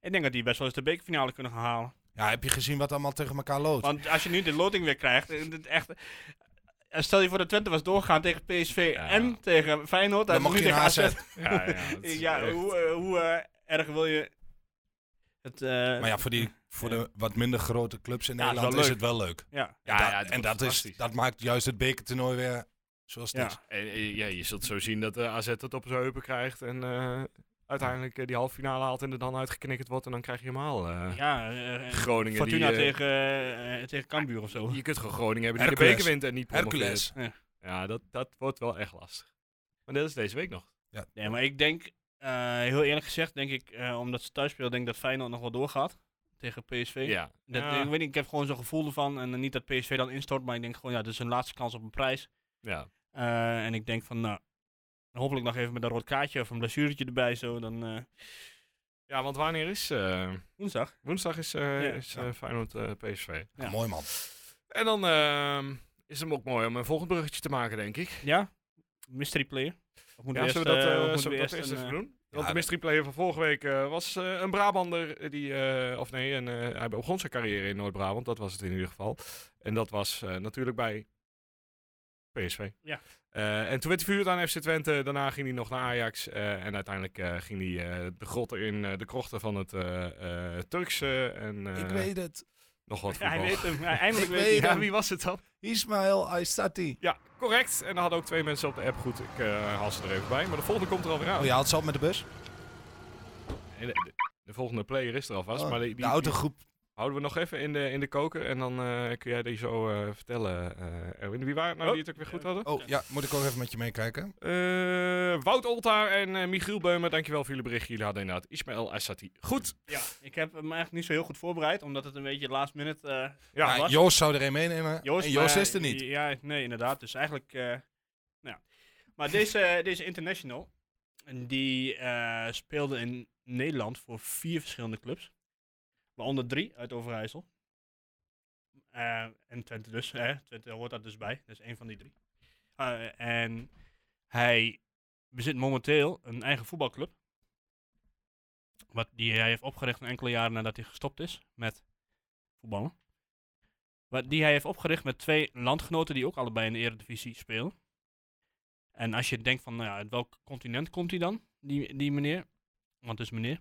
Ik denk dat die best wel eens de bekerfinale kunnen gaan halen. Ja, heb je gezien wat allemaal tegen elkaar loopt? Want als je nu de loting weer krijgt, eh, dit echt. eh, Stel je voor dat Twente was doorgaan tegen PSV Ja. en tegen Feyenoord. Dan en mocht nu je een tegen AZ. AZ. Ja, ja, het is Ja, echt- hoe, eh, hoe eh, erg wil je het... eh, Maar ja, voor, die, voor de wat minder grote clubs in Ja, is wel Nederland is leuk. het wel leuk. ja. Ja, En dat- ja, het en wordt dat, is, fantastisch. dat maakt juist het bekertoernooi weer zoals het Ja. is. En, eh, ja, je zult zo zien dat de AZ het op zijn heupen krijgt. En eh, uiteindelijk eh, die halve finale haalt en er dan uitgeknikkerd wordt. En dan krijg je helemaal eh ja eh, eh, Groningen. Fortuna die, eh, tegen, eh, eh, tegen Cambuur of zo. Je kunt gewoon Groningen hebben die Hercules. de beker wint en niet promoveert. Hercules. Ja, dat, dat wordt wel echt lastig. Maar dat is deze week nog. Nee, maar ik denk, eh, heel eerlijk gezegd, denk ik, eh, omdat ze thuis spelen, denk ik dat Feyenoord nog wel doorgaat tegen PSV. Ja. Dat, ja. Ik weet niet, ik heb gewoon zo'n gevoel ervan. En eh, niet dat PSV dan instort, maar ik denk gewoon, ja, dit is hun laatste kans op een prijs. ja. Eh, en ik denk van, nou, hopelijk nog even met een rood kaartje of een blessuretje erbij zo. Dan eh, Ja, want wanneer is... eh, woensdag. woensdag is, eh Ja. is eh, Feyenoord eh, PSV. Ja. Mooi man. En dan ehm, is het ook mooi om een volgend bruggetje te maken, denk ik. Ja? Mystery player. Of moeten Ja, we eerst, zullen we dat, eh, eh, of moeten zullen we dat we eerst eerst een, even eh, doen? Want dat- de mystery player van vorige week eh, was eh, een Brabander. eh, Die, eh, of nee, een, eh, hij begon zijn carrière in Noord-Brabant. Dat was het in ieder geval. En dat was eh, natuurlijk bij PSV. Ja. Eh, en toen werd hij verhuurd aan FC Twente. Daarna ging hij nog naar Ajax. eh, en uiteindelijk eh, ging hij eh, de grotten in, eh, de krochten van het eh, eh, Turkse. En eh, Ik weet het. nog wat Ja, hij voetbal. weet hem. Hij- Eindelijk Ik weet hij. weet hem. ja, wie was het dan? Ismaël Aistati. Ja, correct. En dan hadden ook twee mensen op de app goed. Ik eh, haal ze er even bij. Maar de volgende komt er alweer aan. Oh, je haalt ze op met de bus? En de, de- de volgende player is er alvast. Oh, maar die, de die- autogroep. die houden we nog even in de, in de koker. En dan eh, kun jij die zo eh, vertellen, eh, Erwin. Wie waren het nou Oh. die het ook weer goed hadden? Oh ja, moet ik ook even met je meekijken? Eh, Wout Oltaar en eh, Michiel Beumer, dankjewel voor jullie berichtje. Jullie hadden inderdaad Ismaël Assati. Goed. Ja, ik heb hem eigenlijk niet zo heel goed voorbereid, omdat het een beetje last minute... eh, Ja, Nou, was. Joost zou er een meenemen. Joost, eh, en Joost maar- is er niet. Ja, nee, inderdaad. Dus eigenlijk, eh, nou ja. Maar deze, deze international, en die eh, speelde in Nederland voor vier verschillende clubs. Waaronder drie uit Overijssel. Eh, en Twente dus, hè. Twente hoort daar dus bij. Dus één van die drie. Eh, en hij bezit momenteel een eigen voetbalclub. Wat die hij heeft opgericht een enkele jaren nadat hij gestopt is met voetballen. Wat die hij heeft opgericht met twee landgenoten die ook allebei in de Eredivisie spelen. En als je denkt van, nou ja, uit welk continent komt hij dan, die, die meneer? Want het is meneer.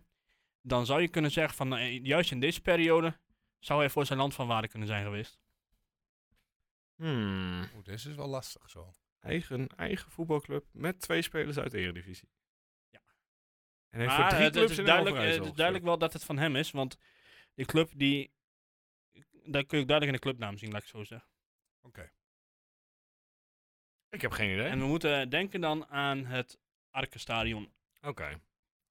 Dan zou je kunnen zeggen van, nou, eh, juist in deze periode zou hij voor zijn land van waarde kunnen zijn geweest. Hmm. Oeh, dit is wel lastig zo. Eigen, eigen voetbalclub met twee spelers uit de Eredivisie. Ja. En heeft voor maar eh, drie het, clubs is in duidelijk, eh, Overijssel het is duidelijk wel dat het van hem is, want die club die, daar kun je ook duidelijk in de clubnaam zien, laat ik het zo zeggen. gespeeld. Ik heb geen idee. En we moeten denken dan aan het Arkenstadion. Oké.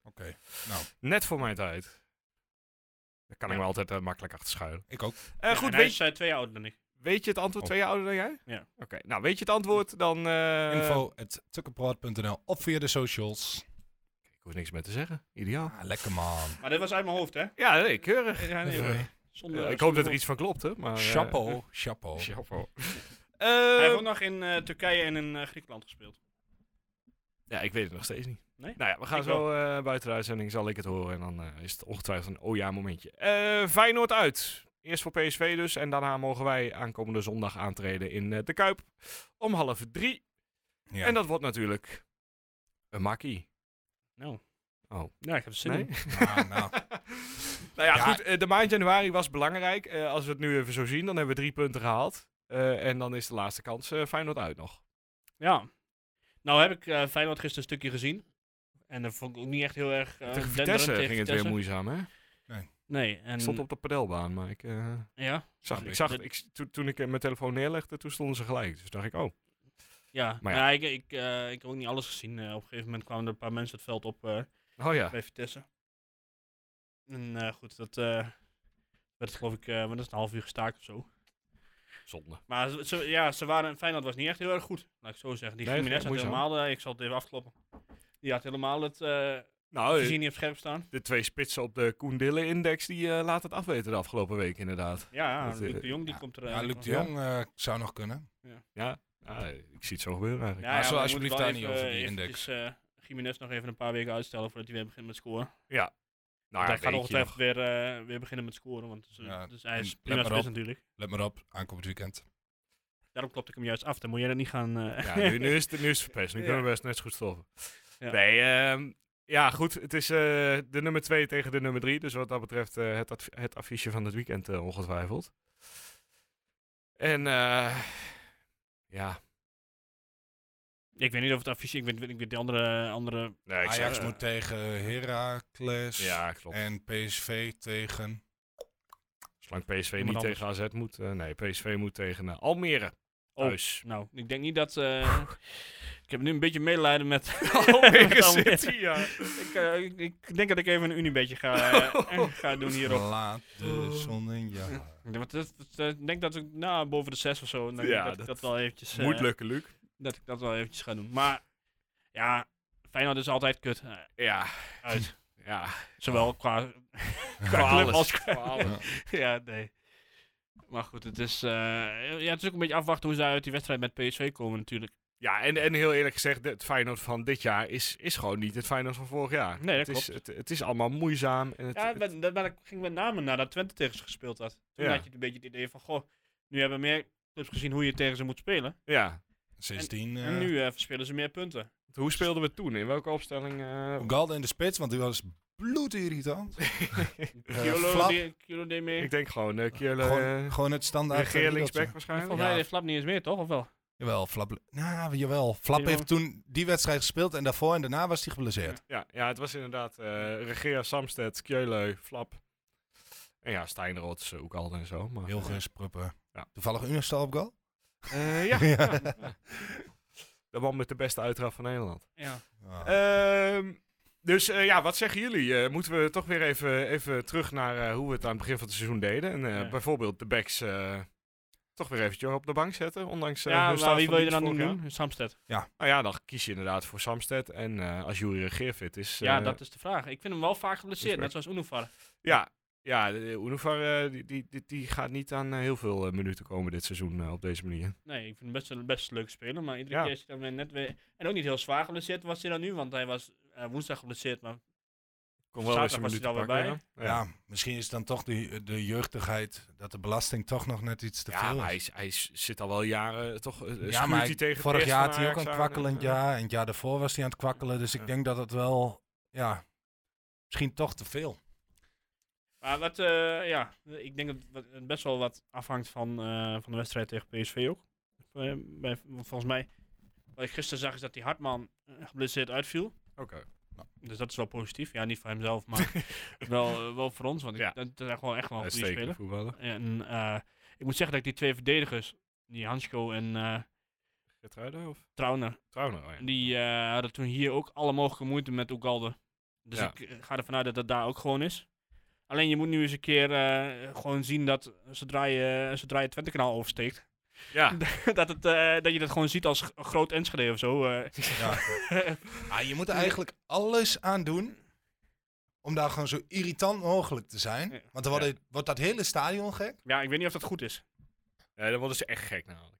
Oké, nou, Net voor mijn tijd. Daar kan ik Ja. me altijd eh, makkelijk achter schuilen. ik ook. Eh, Ja, goed, weet en hij je... is eh, twee jaar ouder dan ik. Weet je het antwoord Oh. twee jaar ouder dan jij? Ja. Oké, nou weet je het antwoord, dan... eh, Info at tukkenproad.nl of via de socials. Ik hoef niks meer te zeggen. Ideaal. Ah, lekker man. Maar dit was uit mijn hoofd, hè? Ja, nee, keurig. Ja, nee, Oké. hoor. Eh, Zonder, ik hoop zonder dat er iets van klopt, hè. Maar, eh, Chapeau, chapeau. chapeau. Hij heeft Ehm, eh, ook nog in eh, Turkije en in eh, Griekenland gespeeld. ja, Ja, ik weet het nog steeds niet. Nee? Nou ja, we gaan Ik zo eh, buiten de uitzending, zal ik het horen. En dan eh, is het ongetwijfeld een oh ja momentje. Eh, Feyenoord uit. Eerst voor PSV dus. En daarna mogen wij aankomende zondag aantreden in eh, de Kuip. Om half drie. Ja. En dat wordt natuurlijk een makkie. Nou. Oh. Ja, ik heb er zin Nee? in. Ah, nou. Nou ja, Ja. goed. eh, de maand januari was belangrijk. Eh, als we het nu even zo zien, dan hebben we drie punten gehaald. Eh, en dan is de laatste kans eh, Feyenoord uit nog. Ja. Nou heb ik eh Feyenoord gisteren een stukje gezien. En dat vond ik ook niet echt heel erg... eh, tegen denderend Vitesse ging tegen het weer Vitesse. moeizaam, hè? Nee, en... Ik stond op de padelbaan, maar ik... eh, Ja, Zag, Ja, ik zag, dat- ik, toen, toen ik eh, mijn telefoon neerlegde, toen stonden ze gelijk. Dus dacht ik, oh, ja. Maar Maar ja. ik, ik, eh, ik heb ook niet alles gezien. Eh, op een gegeven moment kwamen er een paar mensen het veld op eh, oh ja. bij Vitesse. En eh, goed, dat eh, werd geloof ik... eh, want dat is een half uur gestaakt of zo. Zonde. Maar ze, ze- ja, ze waren... Feyenoord was niet echt heel erg goed. Laat ik zo zeggen. Die Nee, Jiménez had moeizaam. helemaal... eh, ik zal het even afkloppen. Die had helemaal het... eh Nou, eh, vizier niet op scherp staan. de twee spitsen op de Koen Dille-index, die eh laat het afweten de afgelopen week inderdaad. Ja, Dat, eh, Luc de Jong die ja. komt er... eh, ja, die Luc komt- de Jong eh, zou nog kunnen. Ah, ik zie het zo gebeuren eigenlijk. Ja, Maar ja, zo we alsjeblieft moeten wel daar niet over even, die eh, index. eventjes, eh, Gimenez nog even een paar weken uitstellen voordat hij weer begint met Ah, scoren. Nou, hij ja, gaat weet je ongetwijfeld nog. weer, eh, weer beginnen met scoren, want dus, eh, Ja, dus hij is en prima let maar spits op. natuurlijk. Let maar op, aankomend weekend. Daarom klopte ik hem juist af, dan moet jij dat niet gaan... eh, Ja, nu, nu, is het, nu is het verpest. Nu Ja. kunnen we best net zo goed stoppen. Ja. Nee, ehm, ja goed. Het is eh, de nummer 2 tegen de nummer 3. Dus wat dat betreft eh, het, adv- het affiche van het weekend eh, ongetwijfeld. En eh, ja, Ik weet niet of het affiche, ik weet, ik weet die andere... andere nee, ik Ajax zeg- eh, moet Eh, tegen Heracles. Ja, klopt. En PSV tegen... Zolang PSV Iemand niet anders. tegen AZ moet. eh, nee, PSV moet tegen eh, Almere. Oh. Thuis. nou, ik denk niet dat... eh, ik heb nu een beetje medelijden met... Almere met Almere. City, ja. ik, eh, ik, ik denk dat ik even een Unibetje ga, eh, ga doen hierop. Laat de zon in je haar. Ja, want dat- dat- eh, Ik denk dat ik nou, boven de 6 of zo, dan Ja, dat, ik dat dat wel eventjes... eh, Moet lukken, Luc. dat ik dat wel eventjes ga doen. Maar ja, Feyenoord is altijd kut eh, Ja, uit. ja. Zowel qua, Qua qua club alles. als qua... Wow. Ja, nee. Maar goed, het is, eh, ja, het is ook een beetje afwachten hoe ze uit die wedstrijd met PSV komen natuurlijk. Ja, en, en heel eerlijk gezegd, het Feyenoord van dit jaar is, is gewoon niet het Feyenoord van vorig jaar. Nee, dat het, Is, het, het is allemaal moeizaam. En het, Ja, het- met, dat, maar dat ging met name nadat Twente tegen ze gespeeld had. Toen Ja. had je een beetje het idee van, goh, nu hebben meer clubs gezien hoe je tegen ze moet spelen. ja. Sindsdien... eh En nu eh verspelen ze meer punten. Hoe speelden we toen? In welke opstelling? eh Ugalde in de spits, want die was bloedirritant. Kiolo Flap. deed- Kiolo deed mee. Eh, ik denk gewoon eh Kjell, gewoon, eh, gewoon het standaard... regeer riedeltje. linksback waarschijnlijk. Volgens mij heeft Flap niet eens meer, toch? Of wel? Jawel, Flap. Nou, jawel. Flap Jawel. heeft toen die wedstrijd gespeeld en daarvoor en daarna was hij geblesseerd. Ja, ja, het was inderdaad eh regeer Samsted, Kjelleu, Flap. En ja, Steinrots ook al en zo. Maar, eh, Heel gerust pruppen. Ja. Toevallig Unistal op goal? Eh, ja. Ja. ja. De man met de beste uitraf van Nederland. Ja. Ah. Ehm, dus eh, ja, wat zeggen jullie? Eh, moeten we toch weer even, even terug naar eh, hoe we het aan het begin van het seizoen deden? En eh, Ja. bijvoorbeeld de backs eh, toch weer eventjes op de bank zetten, ondanks eh, ja, hun maar staat wie van wil je er dienst dan doen? vorig jaar? nu? Samsted. Nou ja, dan kies je inderdaad voor Samsted. En eh, als Jury regeerfit is... Ja, eh, dat is de vraag. Ik vind hem wel vaak geblesseerd, net respect. zoals Unovar. Ja, ja de- de Unovar eh, die, die, die, die gaat niet aan eh, heel veel eh, minuten komen dit seizoen eh, op deze manier. Nee, ik vind hem best een best een leuk speler, maar iedere Ja. keer is hij dan weer net weer... En ook niet heel zwaar geblesseerd was hij dan nu, want hij was eh, woensdag geblesseerd, maar Kom Zaterdag was hij er alweer Ja, ja. Ja, misschien is het dan toch de, de jeugdigheid dat de belasting toch nog net iets te Ja, veel maar is. hij, is- hij is- zit al wel jaren toch... eh, schuurt ja, maar hij tegen het vorig eerst jaar van had hij ook Ajax een aan, kwakkelend eh, jaar. En het jaar daarvoor was hij aan het kwakkelen. Dus ik Ja. denk dat het wel, ja, misschien toch te veel. Maar wat, eh, ja, ik denk dat wat- het best wel wat afhangt van, eh, van de wedstrijd tegen PSV ook. Eh, bij, want volgens mij, wat ik gisteren zag, is dat die Hartman eh, geblesseerd uitviel. Oké. nou. Dus dat is wel positief. Ja, niet voor hemzelf, maar wel, eh, wel voor ons, want ik, Ja. dat, dat zijn gewoon echt wel goede Uitstekende spelers. voetballer. En eh, ik moet zeggen dat ik die twee verdedigers, die Hansko en eh Gertruiden of? Trauner, Trouwner, oh ja. Mm. Die eh, hadden toen hier ook alle mogelijke moeite met Ugalde. Dus Ja. ik eh, ga ervan uit dat dat daar ook gewoon is. Alleen je moet nu eens een keer eh, gewoon zien dat zodra je, zodra je het Twente-kanaal oversteekt, Ja, dat, het, eh, dat je dat gewoon ziet als g- groot Enschede of zo. eh. Ja. Ah, je moet er eigenlijk alles aan doen om daar gewoon zo irritant mogelijk te zijn. Ja. Want dan wordt, het- wordt dat hele stadion gek. eh, ja, ik weet niet of dat goed is. ja dan worden ze echt gek dus namelijk.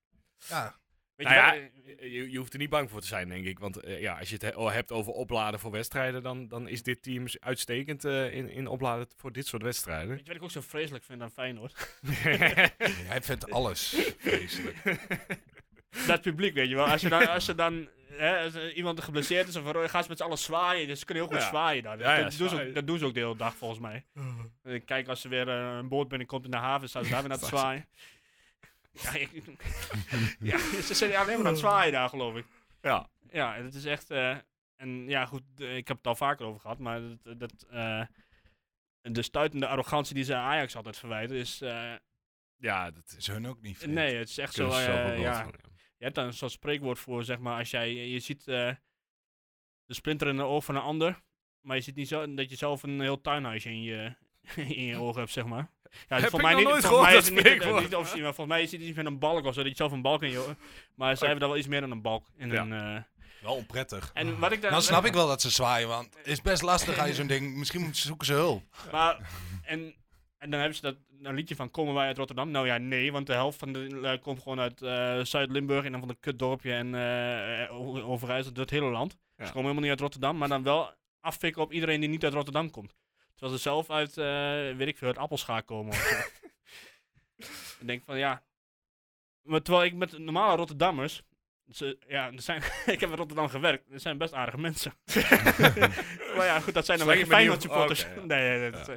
Ja, Weet Nou je ja, wat, eh, Je, je hoeft er niet bang voor te zijn, denk ik. Want eh, ja, als je het he- hebt over opladen voor wedstrijden, dan, dan is dit team uitstekend eh, in, in opladen voor dit soort wedstrijden. Weet je wat ik ook zo vreselijk vind aan Feyenoord? Hij vindt alles vreselijk. dat publiek, weet je wel. Als, je dan, als, je dan, hè, als eh, iemand geblesseerd is, of een- gaan ze met z'n allen zwaaien. Dus ze kunnen heel goed Ja. zwaaien daar. Ja, ja, dat, doen ze zwaaien. ook, dat doen ze ook de hele dag, volgens mij. Eh, Kijk, als er weer eh, een boot binnenkomt in de haven, staan ze daar weer naar te zwaaien. Ja, ik- ja, ze zijn alleen maar aan het zwaaien daar, geloof ik. ja. Ja, en het is echt. eh, en ja, goed, eh, ik heb het al vaker over gehad, maar dat, dat, eh, de stuitende arrogantie die ze aan Ajax altijd verwijten is. eh, ja, dat is Is hun ook niet vreemd. nee, het is echt zo. kunnen ze zelf eh, ook wel ja, van, je hebt daar een soort spreekwoord voor, zeg maar. Als jij, je ziet eh, de splinter in de oog van een ander, maar je ziet niet zo, dat je zelf een heel tuinhuisje in je, in je ogen hebt, zeg maar. Ja, Heb voor ik mij nog niet, nooit voor gehoord, mij is dat het niet, spreekwoord. niet officieel, maar volgens mij is het iets met een balk of zo, dat je zelf een balk in je ogen... Maar zij hebben daar wel iets meer dan een balk. In Ja. hun, eh, Wel onprettig. en wat ik daar, Dan snap ik wel dat ze zwaaien, want het is best lastig als je zo'n ding... Misschien moeten ze zoeken ze hulp. Maar, en, en dan hebben ze dat een liedje van Komen wij uit Rotterdam? Nou ja, nee, want de helft van de lui komt gewoon uit eh, Zuid-Limburg en dan van een kutdorpje en eh, eh, O- Overijssel, dat hele land. Ze komen helemaal niet uit Rotterdam, maar dan wel afvikken op iedereen die niet uit Rotterdam komt. Terwijl ze zelf uit, eh, weet ik veel, uit Appelscha komen of zo. ik denk van ja. Maar terwijl ik met normale Rotterdammers. Ze, ja, er zijn, ik heb in Rotterdam gewerkt. Er zijn best aardige mensen. maar ja, goed, dat zijn Zolang je dan wel geen maar niet Feyenoord op- oké, supporters. ja. Nee, nee, dat,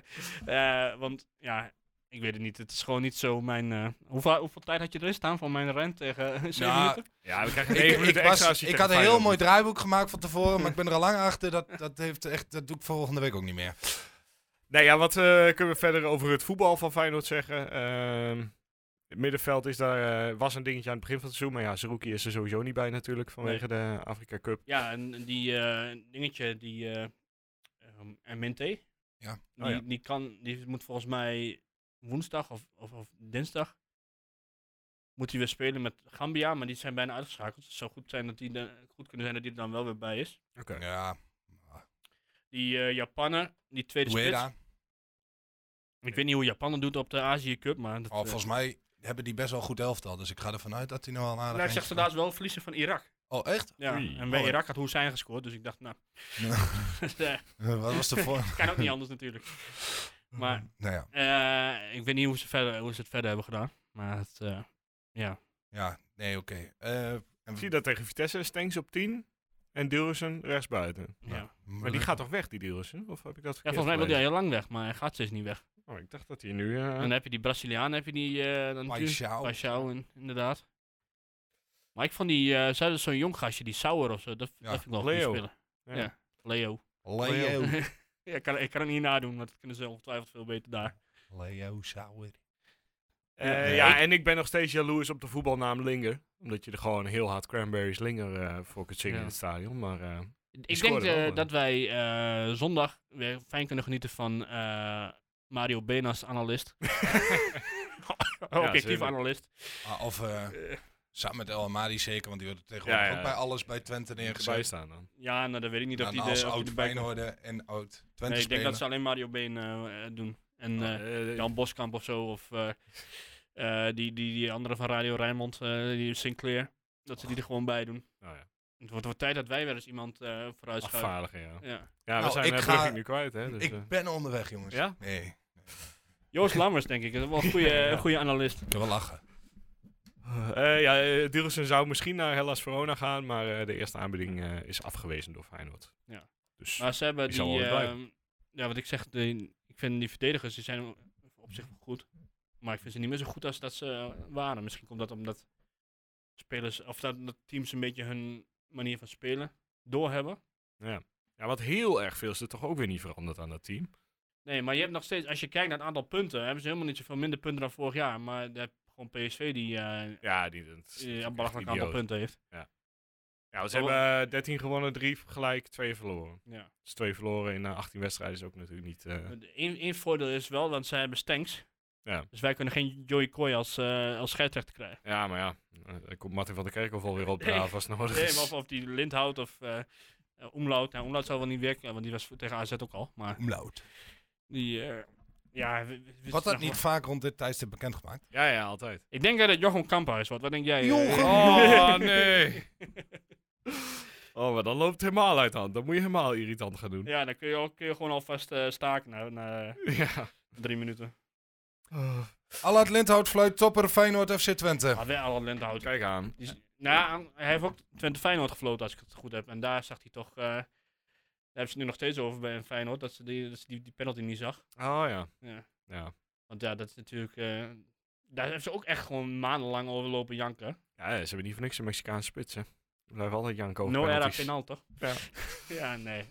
eh, want ja, ik weet het niet. Het is gewoon niet zo mijn... eh, hoeveel, hoeveel tijd had je erin staan van mijn rent tegen 7 Ja, minuten? Ja, we krijgen Ik, 9 ik, minuten was- extra als je ik tegen had een heel Feyenoord mooi draaiboek gemaakt van tevoren, maar ik ben er al lang achter. Dat, dat, heeft echt, dat doe ik volgende week ook niet meer. Nou ja, wat eh, kunnen we verder over het voetbal van Feyenoord zeggen? Ehm, het middenveld is daar, eh, was een dingetje aan het begin van het seizoen. Maar ja, Zerouki is er sowieso niet bij natuurlijk vanwege de Afrika Cup. Ja, en en die eh, dingetje, die eh ehm, MNT. Ja. Die, Oh ja. die kan, die moet volgens mij woensdag of, of, of dinsdag moet hij weer spelen met Gambia, maar die zijn bijna uitgeschakeld. Het zou goed zijn dat die er- goed kunnen zijn dat die er dan wel weer bij is. Oké. Ja, Die eh, Japaner, die tweede spits. Ueda. Ik weet niet hoe Japaner doet op de Azië Cup, maar dat, Oh, eh, volgens mij hebben die best wel een goed elftal, dus ik ga ervan uit dat hij nou wel een aardig nou, ik zag eindje ze laatst wel verliezen van Irak. kan. Oh, echt? Ja, Oei. en bij Oh, ja. Irak had Hoesijn gescoord, dus ik dacht, nou, eh, Wat was de voor? kan ook niet anders natuurlijk. Maar nou ja, Eh, ik weet niet hoe ze, verder, hoe ze het verder hebben gedaan. Maar het, eh, ja. ja, nee, oké. Eh, en- Zie je dat tegen Vitesse? Stengs op 10 en Dilrussen rechtsbuiten. ja. ja. Maar die gaat toch weg, die Dilrussen? Of heb ik dat verkeerd volgens mij wil hij gelezen? heel lang weg, maar hij gaat steeds niet weg. Oh, ik dacht dat hij nu... eh, En dan heb je die Braziliaan, heb je die... eh dan Paixão. Paixão, in- inderdaad. Maar ik vond die... eh ze hadden zo'n jong gastje, die Sauer of zo. Dat, Ja, dat vind ik wel Leo. goed spelen. Ja. Ja. Leo. Leo. ja, ik kan, ik kan het niet nadoen, want dat kunnen ze ongetwijfeld veel beter daar. Leo Sauer. eh, Nee. ja, en ik ben nog steeds jaloers op de voetbalnaam Linger. Omdat je er gewoon heel hard Cranberries Linger eh, voor kunt zingen Ja. in het stadion. Maar eh, Ik denk scoorde wel, eh, eh. dat wij eh, zondag weer fijn kunnen genieten van eh, Mario Benas, analist. Objectief Oh, zeker. analist. Ah, of eh, samen met El Amadi zeker, want die wordt tegenwoordig Ja, ja, ja. ook bij alles bij Twente erbij neergezet. staan dan. Ja, nou, dan weet ik niet of Dan die als de, of die oud erbij komt. Feyenoorder en oud Twente Nee, ik denk speler. dat ze alleen Mario Been eh, eh, doen. En eh, Eh, Jan Boskamp of zo. Of eh, eh, die, die, die andere van Radio Rijnmond, eh, die Sinclair. Dat ze die er gewoon bij doen. nou ja, Het wordt, wordt tijd dat wij weer eens iemand eh vooruit schuiven. afvaardigen, ja. Ja. Ja, we Nou, zijn ik eh, ga- Brugging nu kwijt, hè. Dus, eh. Ik ben onderweg, jongens. Ja? Nee, Joost Lammers, denk ik. Dat is wel een goede, Ja. een goede analist. ik wil wel lachen. Eh, ja, eh, Dillersen zou misschien naar Hellas Verona gaan, maar eh, de eerste aanbieding eh, is afgewezen door Feyenoord. Ja. Dus Maar ze hebben Die die... zal wel weer eh, blijven. ja, wat ik zeg, die, ik vind die verdedigers, die zijn op zich wel goed. Maar ik vind ze niet meer zo goed als dat ze eh, waren. Misschien komt dat omdat spelers, of dat, dat teams een beetje hun manier van spelen doorhebben. ja, wat heel erg veel is er toch ook weer niet veranderd aan dat team. Nee, maar je hebt nog steeds, als je kijkt naar het aantal punten, hebben ze helemaal niet zoveel minder punten dan vorig jaar. Maar dan heb je gewoon PSV die eh, eh, Ja, die, dat is een echt belachelijk idioot. aantal punten heeft. Ja, ze hebben eh, 13 gewonnen, 3 gelijk, 2 verloren. Ja. Dus 2 verloren in eh, 18 wedstrijden is ook natuurlijk niet... eh, Eén één voordeel is wel, want zij hebben Stanks. Ja. Dus wij kunnen geen Joey Kooi als, eh als scheidsrechter krijgen. ja, maar ja, eh, daar komt Martin van der Kerkhoff alweer op Nee. draaf als het nodig Nee, maar of, is. of die Lindhout of eh eh, Omlaut. Nou, Omlaut zou wel niet werken, want die was voor- tegen AZ ook al. Maar Omlaut. die, eh, Ja, we- we- we- Wordt dat nou, niet vaak rond dit tijdstip bekendgemaakt? Ja, ja, altijd. Ik denk eh, dat Jochem Kamphuis wordt. Wat denk jij? eh, Jochem! Erik? Oh, nee. Oh, maar dan loopt het helemaal uit de hand. Dan moet je helemaal irritant gaan doen. Ja, dan kun je, al- kun je gewoon alvast eh, staken na, na Ja. drie minuten. Oh. Allard Lindhout fluit topper Feyenoord FC Twente. Maar wel Alan Lindhout. Oh, Kijk aan. Die is- Nou, hij heeft ook Twente Feyenoord gefloten, als ik het goed heb. En daar zag hij toch... eh, daar hebben ze het nu nog steeds over bij Feyenoord, dat ze die, dat ze die, die penalty niet zag. Oh ja. Ja. Ja. Want ja, dat is natuurlijk... eh, daar heeft ze ook echt gewoon maandenlang over lopen janken. Ja, ze hebben niet voor niks een Mexicaanse spits, hè. We blijven altijd janken over No era penalties. penal, toch? Ja. ja, nee.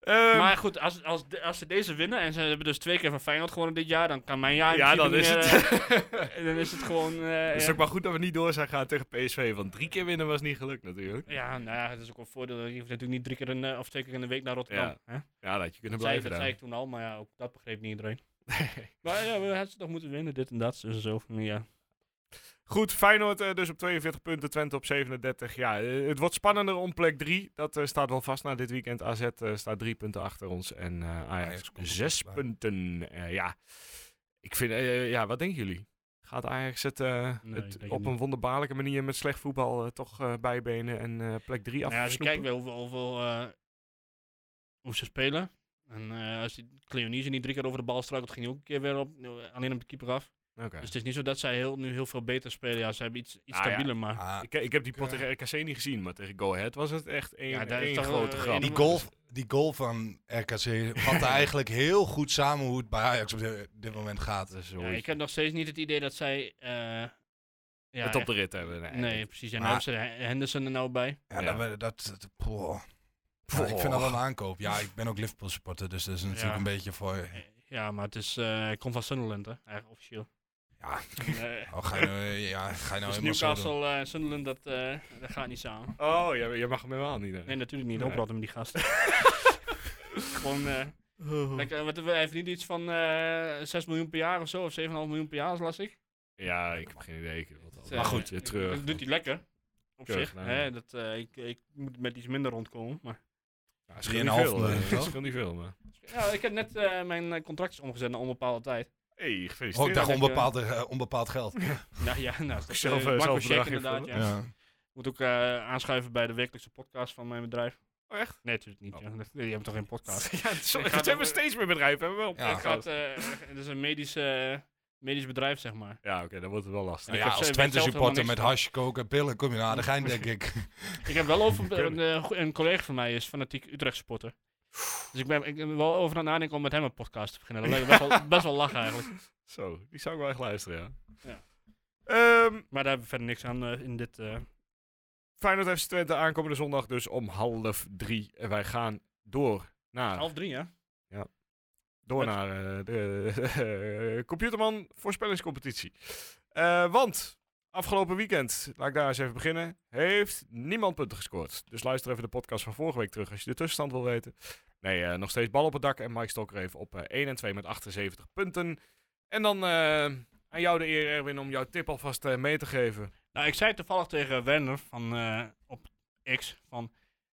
Ehm, maar goed, als, als, de- als ze deze winnen en ze hebben dus twee keer van Feyenoord gewonnen dit jaar, dan kan mijn jaar ja, in dan is principe het. niet meer, eh, dan is het gewoon... eh, Het is ja. ook maar goed dat we niet door zijn gaan tegen PSV, want drie keer winnen was niet gelukt natuurlijk. Ja, nou ja, het is ook wel een voordeel. Je hoeft natuurlijk niet drie keer in, eh, of twee keer in de week naar Rotterdam. Ja, hè? Dat, Ja, dat had je kunnen zei, dat blijven zei ik daar. toen al, maar ja, ook dat begreep niet iedereen. Maar ja, we hadden ze toch moeten winnen, dit en dat. Dus zo, van, ja. Goed, Feyenoord eh, dus op 42 punten, Twente op 37. Ja, eh, het wordt spannender om plek 3. Dat eh, staat wel vast na dit weekend. AZ eh, staat drie punten achter ons en eh, Ajax Ajax komt er zes vlakbij. punten. Eh, ja, ik vind, eh, ja, wat denken jullie? Gaat Ajax het, eh, Nee, het ik denk op het een niet. wonderbaarlijke manier met slecht voetbal eh, toch eh, bijbenen en eh, plek 3 Nou ja, als je afsnoepen? kijkt wel hoeveel, hoeveel, eh, hoe ze spelen. En eh, als die Cleonise niet drie keer over de bal struikelt, ging hij ook een keer weer op, eh, alleen op de keeper af. Oké. Dus het is niet zo dat zij heel, nu heel veel beter spelen. Ja, ze hebben iets, iets Nou ja. stabieler, maar... Ah, Ik, ik heb die pot tegen RKC niet gezien, maar tegen Go Ahead was het echt één, Ja, daar is één toch, eh, grote grap. één- die, goal, die goal van RKC vatte eigenlijk heel goed samen hoe het bij Ajax op de- dit moment gaat. Dat is Ja, zoiets. ik heb nog steeds niet het idee dat zij... eh, ja, het op de rit hebben. Nee, Nee, precies. En Maar- hebben ze Henderson er nou bij. Ja, Ja. Dat, dat, dat- poeh. Ja, Poeh. ik vind dat wel een aankoop. Ja, ik ben ook Liverpool supporter, dus dat is natuurlijk Ja. een beetje voor... Ja, maar het is, eh, hij komt van Sunderland, hè? Eigenlijk officieel. Ja. Eh, Oh, ga je nou, ja, ga je nou helemaal dus zo doen? Newcastle en Sunderland, dat, eh, dat gaat niet samen. Oh, jij, jij mag hem helemaal niet. hè? Nee, natuurlijk niet. Nee. Oprotten met die gasten. Gewoon, eh, Oh. lekker, wat, hij heeft niet iets van eh 6 miljoen per jaar of zo, of 7,5 miljoen per jaar, las ik. Ja, ik heb geen idee. Ik weet het al. Dat, maar eh, goed, je treurig. Dat doet hij lekker. Op Keurig, zich. nou. Hè, dat, eh, ik, ik moet met iets minder rondkomen. Maar... Ja, het scheelt 3,5 niet veel. miljoen, eh, Het toch? scheelt niet veel, maar... Ja, ik heb net eh, mijn eh, contract is omgezet naar onbepaalde tijd. hey, Oh, ik gefeliciteerd. dacht Tuurlijk, onbepaald, eh, onbepaald geld. Nou Nou ja, nou, dat is Zelf, zelf, eh, uh, zelf Marco bedrag Check inderdaad. invullen. Ja. Moet ook eh, aanschuiven bij de wekelijkse podcast van mijn bedrijf. Oh, echt? Nee, natuurlijk niet. Oh. ja. Dat- Je hebt toch geen podcast? Ja, sorry, Ik ga dat nog- hebben we steeds meer bedrijven. Hebben we wel. Ja. Ik ga het, eh, het is een medisch, eh, medisch bedrijf, zeg maar. Ja, oké, dan wordt het wel lastig. ik ja, heb als ze- weet Twente zelf helemaal supporter niks met van. hash, koken, pillen, kom je naar de gein, denk ik. Ik heb wel over een, Kunnen. eh, go- een collega van mij is fanatiek Utrecht supporter. Dus ik ben, ik ben wel over aan het nadenken om met hem een podcast te beginnen. Dat lijkt me best wel, best wel lachen eigenlijk. Zo, die zou ik wel echt luisteren, ja. Ja. Ehm, Maar daar hebben we verder niks aan eh, in dit. eh, Feyenoord FC Twente aankomende zondag dus om half drie. En wij gaan door naar... half drie, ja. Door Met- naar eh, de eh, Computerman voorspellingscompetitie. Eh, want afgelopen weekend, laat ik daar eens even beginnen, heeft niemand punten gescoord. Dus luister even de podcast van vorige week terug als je de tussenstand wil weten. Nee, eh, nog steeds bal op het dak en Mike Stokker heeft op eh, 1 en 2 met 78 punten. En dan eh, aan jou de eer, Erwin, om jouw tip alvast eh, mee te geven. Nou, ik zei toevallig tegen Werner van, eh, op X van.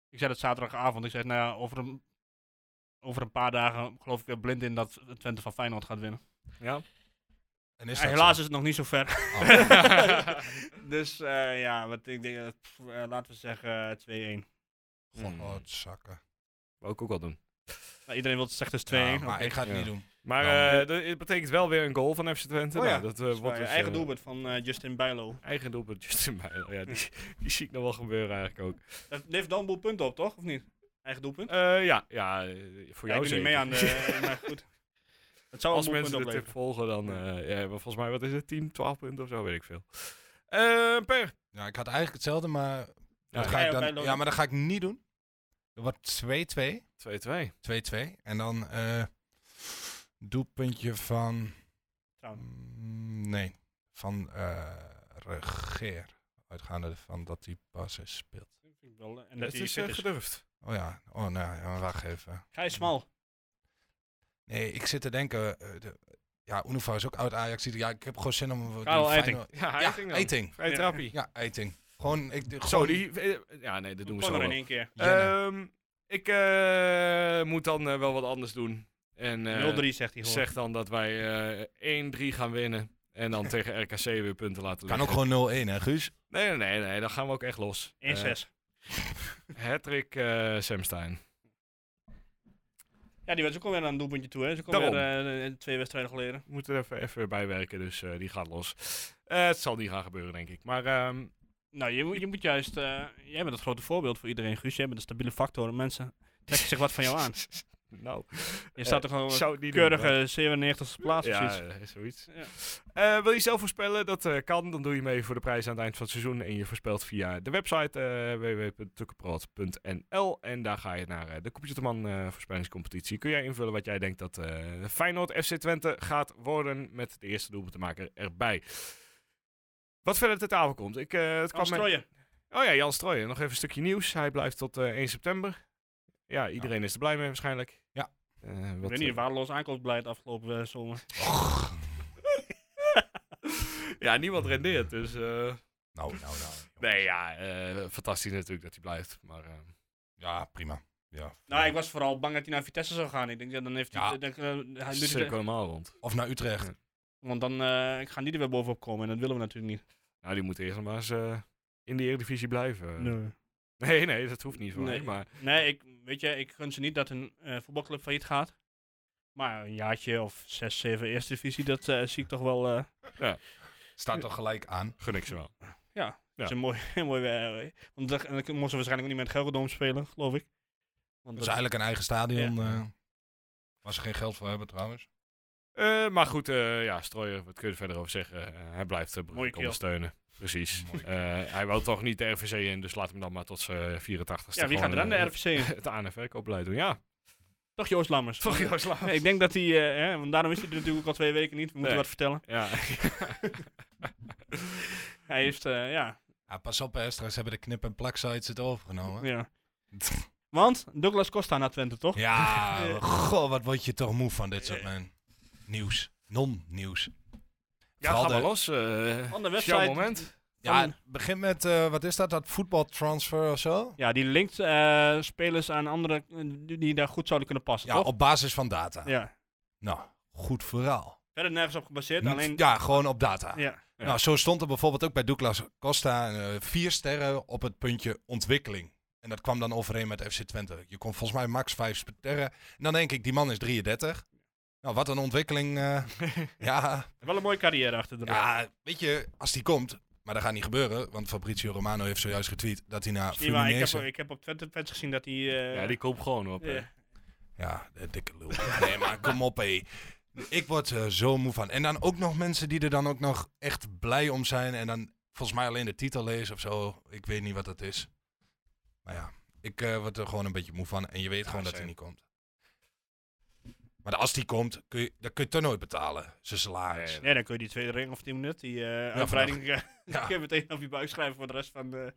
Ik zei dat zaterdagavond. Ik zei, nou ja, over een, over een paar dagen geloof ik er blind in dat Twente van Feyenoord gaat winnen. Ja? En is Ja, dat helaas zo? is het nog niet zo ver. Oh. dus eh, ja, wat ik denk, eh, pff, eh, laten we zeggen eh, 2-1. Oh, Godzakken. Hmm. Wou ik ook wel doen. Nou, iedereen wil zegt dus 2-1. Ja, maar oké. ik ga het Ja. niet doen. Maar Nou, eh, dat- het betekent wel weer een goal van FC Twente. Oh ja, Nou, dat, eh, Dus wordt bij dus, eigen eh, doelpunt van eh, Justin Bijlo. Eigen doelpunt Justin Bijlo. Ja, die, die zie ik nog wel gebeuren eigenlijk ook. Dat levert dan een boel punten op, toch? Of niet? Eigen doelpunt? Eh, ja, ja, eh, voor Ja, jou ik doe zeker. niet mee aan de... maar goed. Het zou Als een boel mensen punten de tip volgen, opleveren. dan... eh, ja, maar volgens mij, wat is het? 10, 12 punten of zo, weet ik veel. Eh, per. Ja, ik had eigenlijk hetzelfde, maar... dat ga ga je ik ook dan, bijlopen? ja, maar dat ga ik niet doen. Er wordt 2-2. 2-2. 2-2. En dan eh doelpuntje van. Trouwen. Mm, Nee, van eh, Regeer. Uitgaande van dat hij basis speelt. Ik vind wel, eh, En dat Het hij is fit eh, is. gedurfd. Oh ja, oh nou, ja, wacht even. Gijs Smal. Nee, ik zit te denken. eh, de- ja, Unova is ook oud Ajax. Ja, ik heb gewoon zin om. Karel Eiting. Ja, Ja, Eiting dan. Eiting. Vrije Ja. trappie. Ja, Eiting. Gewoon, ik, de- Zo, gewoon die... eh, Ja, nee, dat doen we Corner zo in Eh, wel. één keer. Jenne. Ehm, ik eh, moet dan eh, wel wat anders doen. Eh, En eh, 0-3 zegt hij gewoon. zegt dan dat wij eh, 1-3 gaan winnen. En dan tegen RKC weer punten laten liggen. Kan ook gewoon 0-1, hè, Guus? Nee, nee, nee, nee, dan gaan we ook echt los. Eh, 1-6. Hattrick eh Semstein. Ja, die was ook alweer aan een doelpuntje toe. Hè. Ze komen weer eh, twee wedstrijden geleden. We moeten er even, even bijwerken, dus eh, die gaat los. Eh, het zal niet gaan gebeuren, denk ik. Maar ehm, Nou, je, moet- je moet juist... eh, jij bent het grote voorbeeld voor iedereen, Guus. Jij bent een stabiele factor. Mensen trekken zich wat van jou aan. nou, Je staat er ik gewoon zou het niet doen, hoor. keurige 97 e plaats of ja, zoiets. eh, zoiets. Ja. Eh, wil je zelf voorspellen? Dat eh, kan. Dan doe je mee voor de prijs aan het eind van het seizoen. En je voorspelt via de website eh www.tukkenprot.nl. En daar ga je naar eh, de Computerman eh, voorspellingscompetitie. Kun jij invullen wat jij denkt dat eh, Feyenoord FC Twente gaat worden. Met de eerste doelpunt te maken erbij. Wat verder ter tafel komt. Ik, eh, het Kan kwam mij- strooien. Oh ja, Jan Strooijen. Nog even een stukje nieuws. Hij blijft tot eh, 1 september. Ja, iedereen is er blij mee waarschijnlijk. Ja. Eh, Ik wat, weet niet, waardeloos aankoopbeleid afgelopen eh, zomer. ja, niemand rendeert, dus... eh, Nou, nou, nou. Nee, ja, eh, fantastisch natuurlijk dat hij blijft. Maar eh, Ja, prima. Ja. Nou, ik was vooral bang dat hij naar Vitesse zou gaan. Ik denk, ja, dan heeft hij... Ja. ik denk, eh, hij doet cirkel het, helemaal rond. Of naar Utrecht. want dan eh, ik ga niet er weer bovenop komen. En dat willen we natuurlijk niet. Nou, die moet eerst nog maar eens eh, in de Eredivisie blijven. Nee. Nee, nee, dat hoeft niet voor mij. Nee. Maar Nee, ik, weet je, ik gun ze niet dat een eh, voetbalclub failliet gaat. Maar een jaartje of 6, 7 eerste divisie, dat eh, zie ik toch wel. eh, Staat toch gelijk aan? gun ik ze wel. Ja. is een mooi, een mooi eh, Want dan, dan moesten ze waarschijnlijk ook niet met Gelredome spelen, geloof ik. Want Dus dat- eigenlijk een eigen stadion. eh, waar ze geen geld voor hebben trouwens. Eh, maar goed, eh, ja, Strooier, wat kun je er verder over zeggen? Eh, hij blijft de Mooie Brugge keel. ondersteunen. Precies. Mooie Eh, hij wil toch niet de RVC in, dus laat hem dan maar tot zijn 84ste. ja, wie gaat er gewoon, dan de eh, RVC in? Het ANF-koopbeleid doen, ja. Toch Joost Lammers. Toch, Joost Lammers. Ja, ik denk dat hij, eh, hè, want daarom is hij er natuurlijk al twee weken niet. We moeten Nee. wat vertellen. Ja. Hij heeft, eh, ja, Ja, pas op, hè. Straks hebben de knip- en plaksites het overgenomen. ja. Want Douglas Costa naar Twente, toch? Ja, Ja. goh, wat word je toch moe van dit soort man. nieuws. Non-nieuws. ja, Vooral ga de- maar los. eh Van de is jouw website. moment. Ja, Van- het begint met, eh, wat is dat, dat voetbaltransfer of zo? Ja, die linkt eh, spelers aan anderen eh, die- die daar goed zouden kunnen passen, Ja, toch? op basis van data. Ja. Nou, goed verhaal. Verder nergens op gebaseerd, alleen... Ja, gewoon op data. Ja. Ja. Nou, zo stond er bijvoorbeeld ook bij Douglas Costa eh, vier sterren op het puntje ontwikkeling. En dat kwam dan overeen met FC Twente. Je kon volgens mij max vijf sterren. En dan denk ik, die man is 33. Nou, wat een ontwikkeling. eh, ja, Wel een mooie carrière achter de rug. Ja, weet je, als die komt, maar dat gaat niet gebeuren, want Fabrizio Romano heeft zojuist getweet dat hij naar Zie je maar, ik, heb, Fluminense... ik heb op Twente fans gezien dat hij... eh, Ja, die komt gewoon op. eh, eh. Ja, de dikke lul. Nee, maar kom op, hé. Ik word er zo moe van. En dan ook nog mensen die er dan ook nog echt blij om zijn en dan volgens mij alleen de titel lezen of zo. Ik weet niet wat dat is. Maar ja, ik eh, word er gewoon een beetje moe van en je weet gewoon dat hij same. niet komt. Maar als die komt, kun je, dan kun je toch nooit betalen. Zijn salaris. Nee, Nee, dan kun je die tweede ring of 10 minuten, die eh uitbreiding, kun je meteen op je buik schrijven voor de rest van de...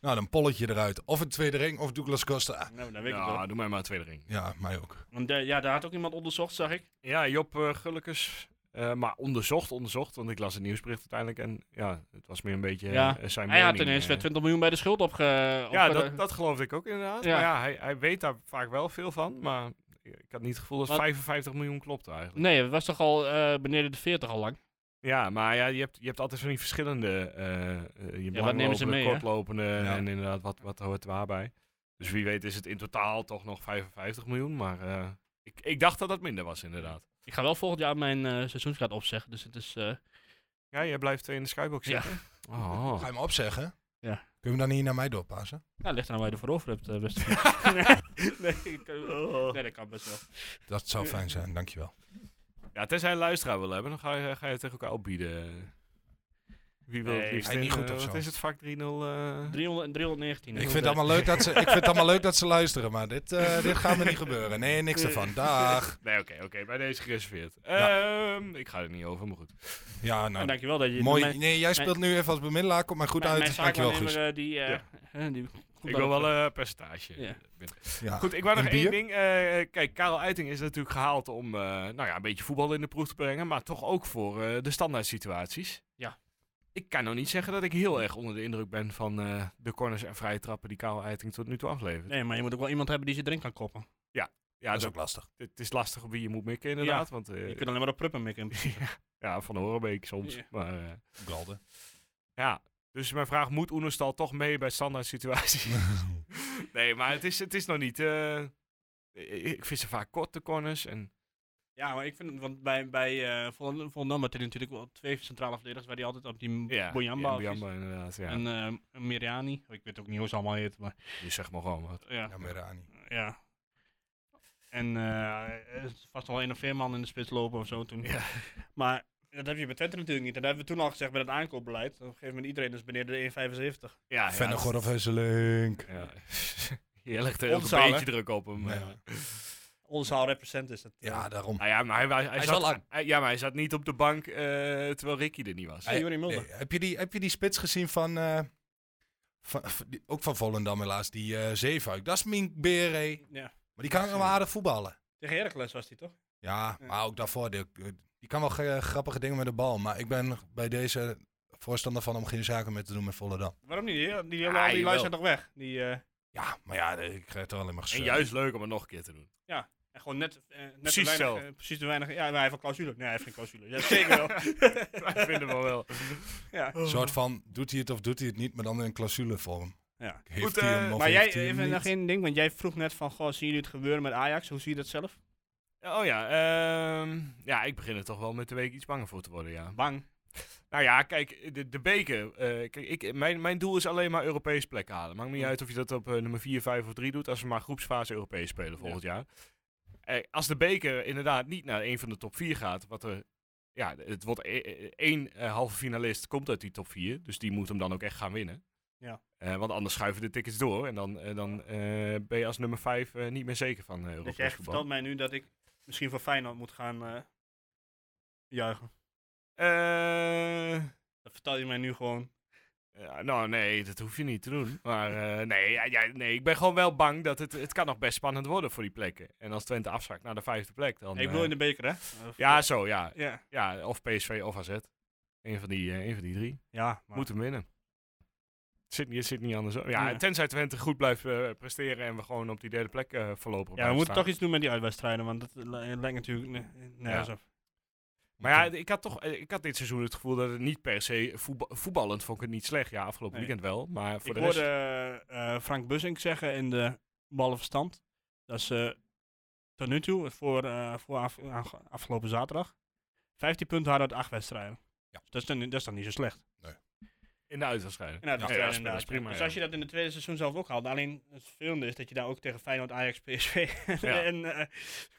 Nou, dan polletje eruit. Of een tweede ring of Douglas Costa. Nou, dat weet ik wel. Ja, doe mij maar een tweede ring. Ja, mij ook. Want eh, ja, daar had ook iemand onderzocht, zag ik. Ja, Job eh, Gullekes. Eh, maar onderzocht, onderzocht, want ik las het nieuwsbericht uiteindelijk en ja, het was meer een beetje Ja, eh, zijn Hij had mening, ineens eh. weer 20 miljoen bij de schuld opge... Ja, opge- dat, dat geloofde ik ook inderdaad. Ja. Maar ja, hij, hij weet daar vaak wel veel van, maar ik had niet het gevoel dat Wat- 55 miljoen klopte eigenlijk. Nee, het was toch al eh, beneden de 40 al lang. Ja, maar ja, je, hebt, je hebt altijd van die verschillende, eh eh, je wat nemen langlopende, ze mee, hè? kortlopende Ja. en inderdaad, wat, wat hoort waarbij. Dus wie weet is het in totaal toch nog 55 miljoen, maar eh, ik, ik dacht dat dat minder was inderdaad. Ik ga wel volgend jaar mijn eh seizoenskaart opzeggen, dus het is... eh, Ja, jij blijft in de skybox Ja. zitten? Oh. Ga je hem opzeggen? Ja. Kun je hem dan hier naar mij doorpassen? ja, ligt eraan waar je ervoor over hebt, eh, beste vriend. nee, ik kan- Oh. nee, dat kan best wel. Dat zou fijn zijn, dankjewel. Ja, tenzij een luisteraar wil hebben, dan ga je, ga je het tegen elkaar opbieden. Wie wil Nee, het liefst hij in, niet goed eh, of wat zo. is het, vak 3-0? eh? 300, 319. Ik vind, het allemaal leuk dat ze, ik vind het allemaal leuk dat ze luisteren, maar dit, eh, dit gaat me niet gebeuren. Nee, niks ervan. Dag. Nee, oké, oké, bij deze gereserveerd. Ehm, ik ga er niet over, maar goed. Ja, Nou, nou, dankjewel dat je... mooi. mijn- Nee, jij speelt nu even als bemiddelaar. Komt maar goed mijn, uit. Dankjewel, zaakwaarnemer, Guus. eh, die, eh, Ja. hè, die komt ik daar wil ook wel voor. een percentage. Ja. binnen. eh, Ja. Goed, ik wou En nog één bier? ding. eh, kijk, Karel Eiting is natuurlijk gehaald om eh, nou ja, een beetje voetbal in de proef te brengen, maar toch ook voor eh, de standaard situaties. Ja. Ik kan nou niet zeggen dat ik heel erg onder de indruk ben van eh, de corners en vrije trappen die Karel Eiting tot nu toe aflevert. Nee, maar je moet ook wel iemand hebben die ze erin kan koppen. Ja, dat is dat- ook lastig. het is lastig op wie je moet mikken inderdaad. Want, eh, Je kunt alleen maar op Pruppen mikken. in principe. ja, van de Horenbeek soms. Ja. Maar, eh, Galde. ja, dus mijn vraag, moet Oenerstal toch mee bij standaard situaties? nee, maar het is, het is nog niet... eh, ik vind ze vaak korte corners en... Ja, maar ik vind het, want bij, bij eh Volendam Volendam had hij natuurlijk wel twee centrale verdedigers waar hij altijd op die Ja, ja, Boyamba ja, of iets- Boyamba inderdaad, ja. en eh, Miriani. Ik weet ook niet hoe ze allemaal heet, maar Dus zeg maar gewoon wat. ja. Ja, Merani. Ja. En eh, er is vast wel één of veerman in de spits lopen of zo toen. Ja. Maar dat heb je bij Twente natuurlijk niet. En dat hebben we toen al gezegd bij het aankoopbeleid. Op een gegeven moment iedereen is beneden de 1,75. Ja, Vennegor of Hesselink. Ja. Je legt er ook een Onzaal, hè? beetje druk op hem. Ja. eh. Onze al represent is dat. Ja, daarom. Nou ja, maar hij, wa- hij is zat, al lang. hij- ja, maar hij zat niet op de bank eh, terwijl Ricky er niet was. Hey, Yuri Mulder. Nee, heb, je die, heb je die spits gezien van, eh, van, van die- ook van Volendam helaas, die eh Zeefuik? Dat is Mink Bere. Ja. Maar die kan ook nog wel aardig voetballen. Tegen Heracles was hij toch? Ja, Ja. maar ook daarvoor. Die, die kan wel ge- grappige dingen met de bal. Maar ik ben bij deze voorstander van om geen zaken meer te doen met Volendam. Waarom niet? Die, die, Ah, ah, die lui jawel. zijn nog weg. Die, eh, Ja, maar ja, ik krijg er alleen maar en gezeur. juist leuk om het nog een keer te doen. en gewoon net, eh, net Precies te weinig, hetzelfde. eh, precies te weinig. Ja, maar hij heeft een clausule. Nee, hij heeft geen clausule. Ja, zeker wel. Wij vinden wel wel. ja. Een soort van, doet hij het of doet hij het niet, maar dan in een clausulevorm. Ja. Heeft Goed, hij eh, hem of Maar heeft jij, hij hem even niet? nog één ding. Want jij vroeg net van, goh, zien jullie het gebeuren met Ajax? Hoe zie je dat zelf? Oh ja, ehm, ja, ik begin er toch wel met de week iets banger voor te worden, ja. Bang. Nou ja, kijk, de, de beker. eh, kijk, ik, mijn, mijn doel is alleen maar Europees plek halen. Maakt me niet Hm. uit of je dat op eh, nummer 4, 5 of 3 doet. Als we maar groepsfase Europees spelen volgend jaar. Eh, als de beker inderdaad niet naar een van de top 4 gaat. Wat er, ja, het wordt e- eh, één eh, halve finalist komt uit die top 4. Dus die moet hem dan ook echt gaan winnen. Ja. Eh, want anders schuiven de tickets door. En dan, eh, dan eh, ben je als nummer 5 niet meer zeker van eh, Dat Europees jij voetbal. vertelt mij nu dat ik misschien voor Feyenoord moet gaan eh, juichen. Eh, Dat vertel je mij nu gewoon. Ja, nou, nee, dat hoef je niet te doen. Maar eh, nee, ja, ja, nee, ik ben gewoon wel bang dat het, het kan nog best spannend worden voor die plekken. En als Twente afzakt naar de vijfde plek, dan... Nee, ik wil in eh, de beker, hè? Of- Ja, zo, ja. ja. ja. Of PSV of AZ. Eén van die, eh, één van die drie. Ja, maar Moet hem winnen. Het zit, niet- het zit niet anders. Ja, Ja. tenzij Twente goed blijft eh, presteren en we gewoon op die derde plek eh voorlopig ja, we blijven moeten staan. toch iets doen met die uitwedstrijden, want dat li- lijkt natuurlijk ne- nergens Ja. op. Maar ja, ik had toch eh, ik had dit seizoen het gevoel dat het niet per se voetba- voetballend vond ik het niet slecht. Ja, afgelopen Nee. weekend wel. Maar voor Ik de hoorde rest... eh, eh, Frank Bussink zeggen in de ballenverstand dat ze tot nu toe, voor, eh, voor af- aange- afgelopen zaterdag, 15 punten hadden uit acht wedstrijden. Ja. Dus dat is, dan, dat is dan niet zo slecht. In de uitwedstrijden. En uit Ja, de tweede dat is inderdaad, prima, ja. Dus ja. als je dat in het tweede seizoen zelf ook haalde, alleen het vervelende is dat je daar ook tegen Feyenoord, Ajax, PSV Ja. en... eh,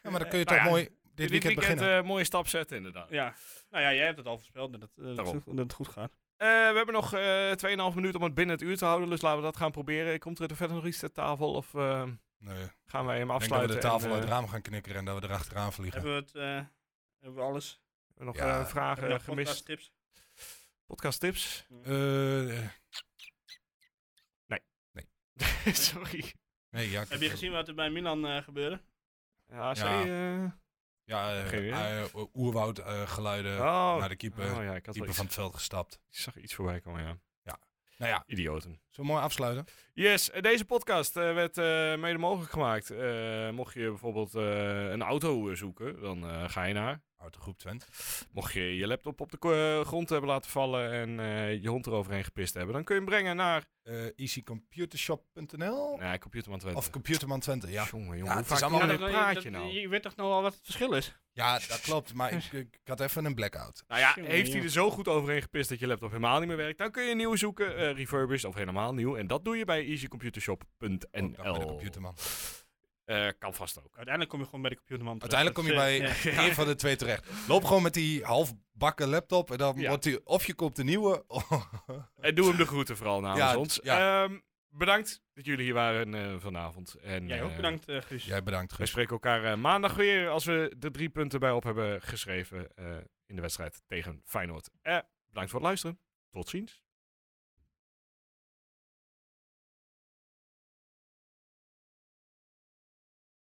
Ja, maar dan kun je Nou toch ja, mooi dit weekend beginnen. eh, mooie stap zetten, inderdaad. ja. Nou ja, jij hebt het al voorspeld dat, het, eh, dat, Daarom. het- dat het goed gaat. Eh, we hebben nog eh 2,5 minuten om het binnen het uur te houden, dus laten we dat gaan proberen. Komt er verder nog iets ter tafel of eh, Nee, ik gaan wij hem denk dat we afsluiten? de tafel en, uit eh, het raam gaan knikkeren en dat we erachteraan vliegen. Hebben we het... eh, hebben we alles? nog Ja. eh, vragen Hebben we nog gemist? Podcast. podcasttips? tips? Eh, eh, Sorry. nee, ja, ik Heb je gezien wat er bij Milan eh, gebeurde? Ja, AC, Ja. eh, Ja, eh, Geen idee. eh, oerwoud eh, geluiden oh. naar de keeper, oh ja, ik had wel keeper iets, van het veld gestapt. ik zag iets voorbij komen, ja. Nou ja, Idioten. zo mooi afsluiten. Yes, eh, deze podcast eh, werd eh, mede mogelijk gemaakt. Eh, mocht je bijvoorbeeld eh, een auto eh, zoeken, dan eh, ga je naar. Autogroep Twent. Mocht je je laptop op de ko- eh, grond hebben laten vallen en eh, je hond eroverheen gepist hebben, dan kun je hem brengen naar Eh easycomputershop.nl Nee, computerman Twente. of Computerman Twente, ja. Jongen, jongen, Ja, hoe het is vaak allemaal- praat dat- dat- je nou? Je weet toch nou al wat het verschil is? Ja, dat klopt, maar ik, ik had even een blackout. Nou ja, Jongen, heeft hij er jongen. zo goed overheen gepist dat je laptop helemaal niet meer werkt? Dan kun je een nieuwe zoeken, eh refurbished of helemaal nieuw. En dat doe je bij Ook Oh, dan bij de easycomputershop.nl. Computerman. Eh, kan vast ook. Uiteindelijk kom je gewoon bij de computerman terecht. Uiteindelijk kom je bij Dat is, eh, ja. één van de twee terecht. Loop gewoon met die halfbakken laptop en dan Ja. wordt die, of je koopt een nieuwe. En doe hem de groeten vooral namens Ja, ons. ja. Ehm, bedankt dat jullie hier waren eh, vanavond. En, Jij ook eh, bedankt, eh, Guus. Jij bedankt, Wij Guus. spreken elkaar eh, maandag weer als we de drie punten bij op hebben geschreven eh, in de wedstrijd tegen Feyenoord. Eh, bedankt voor het luisteren. Tot ziens.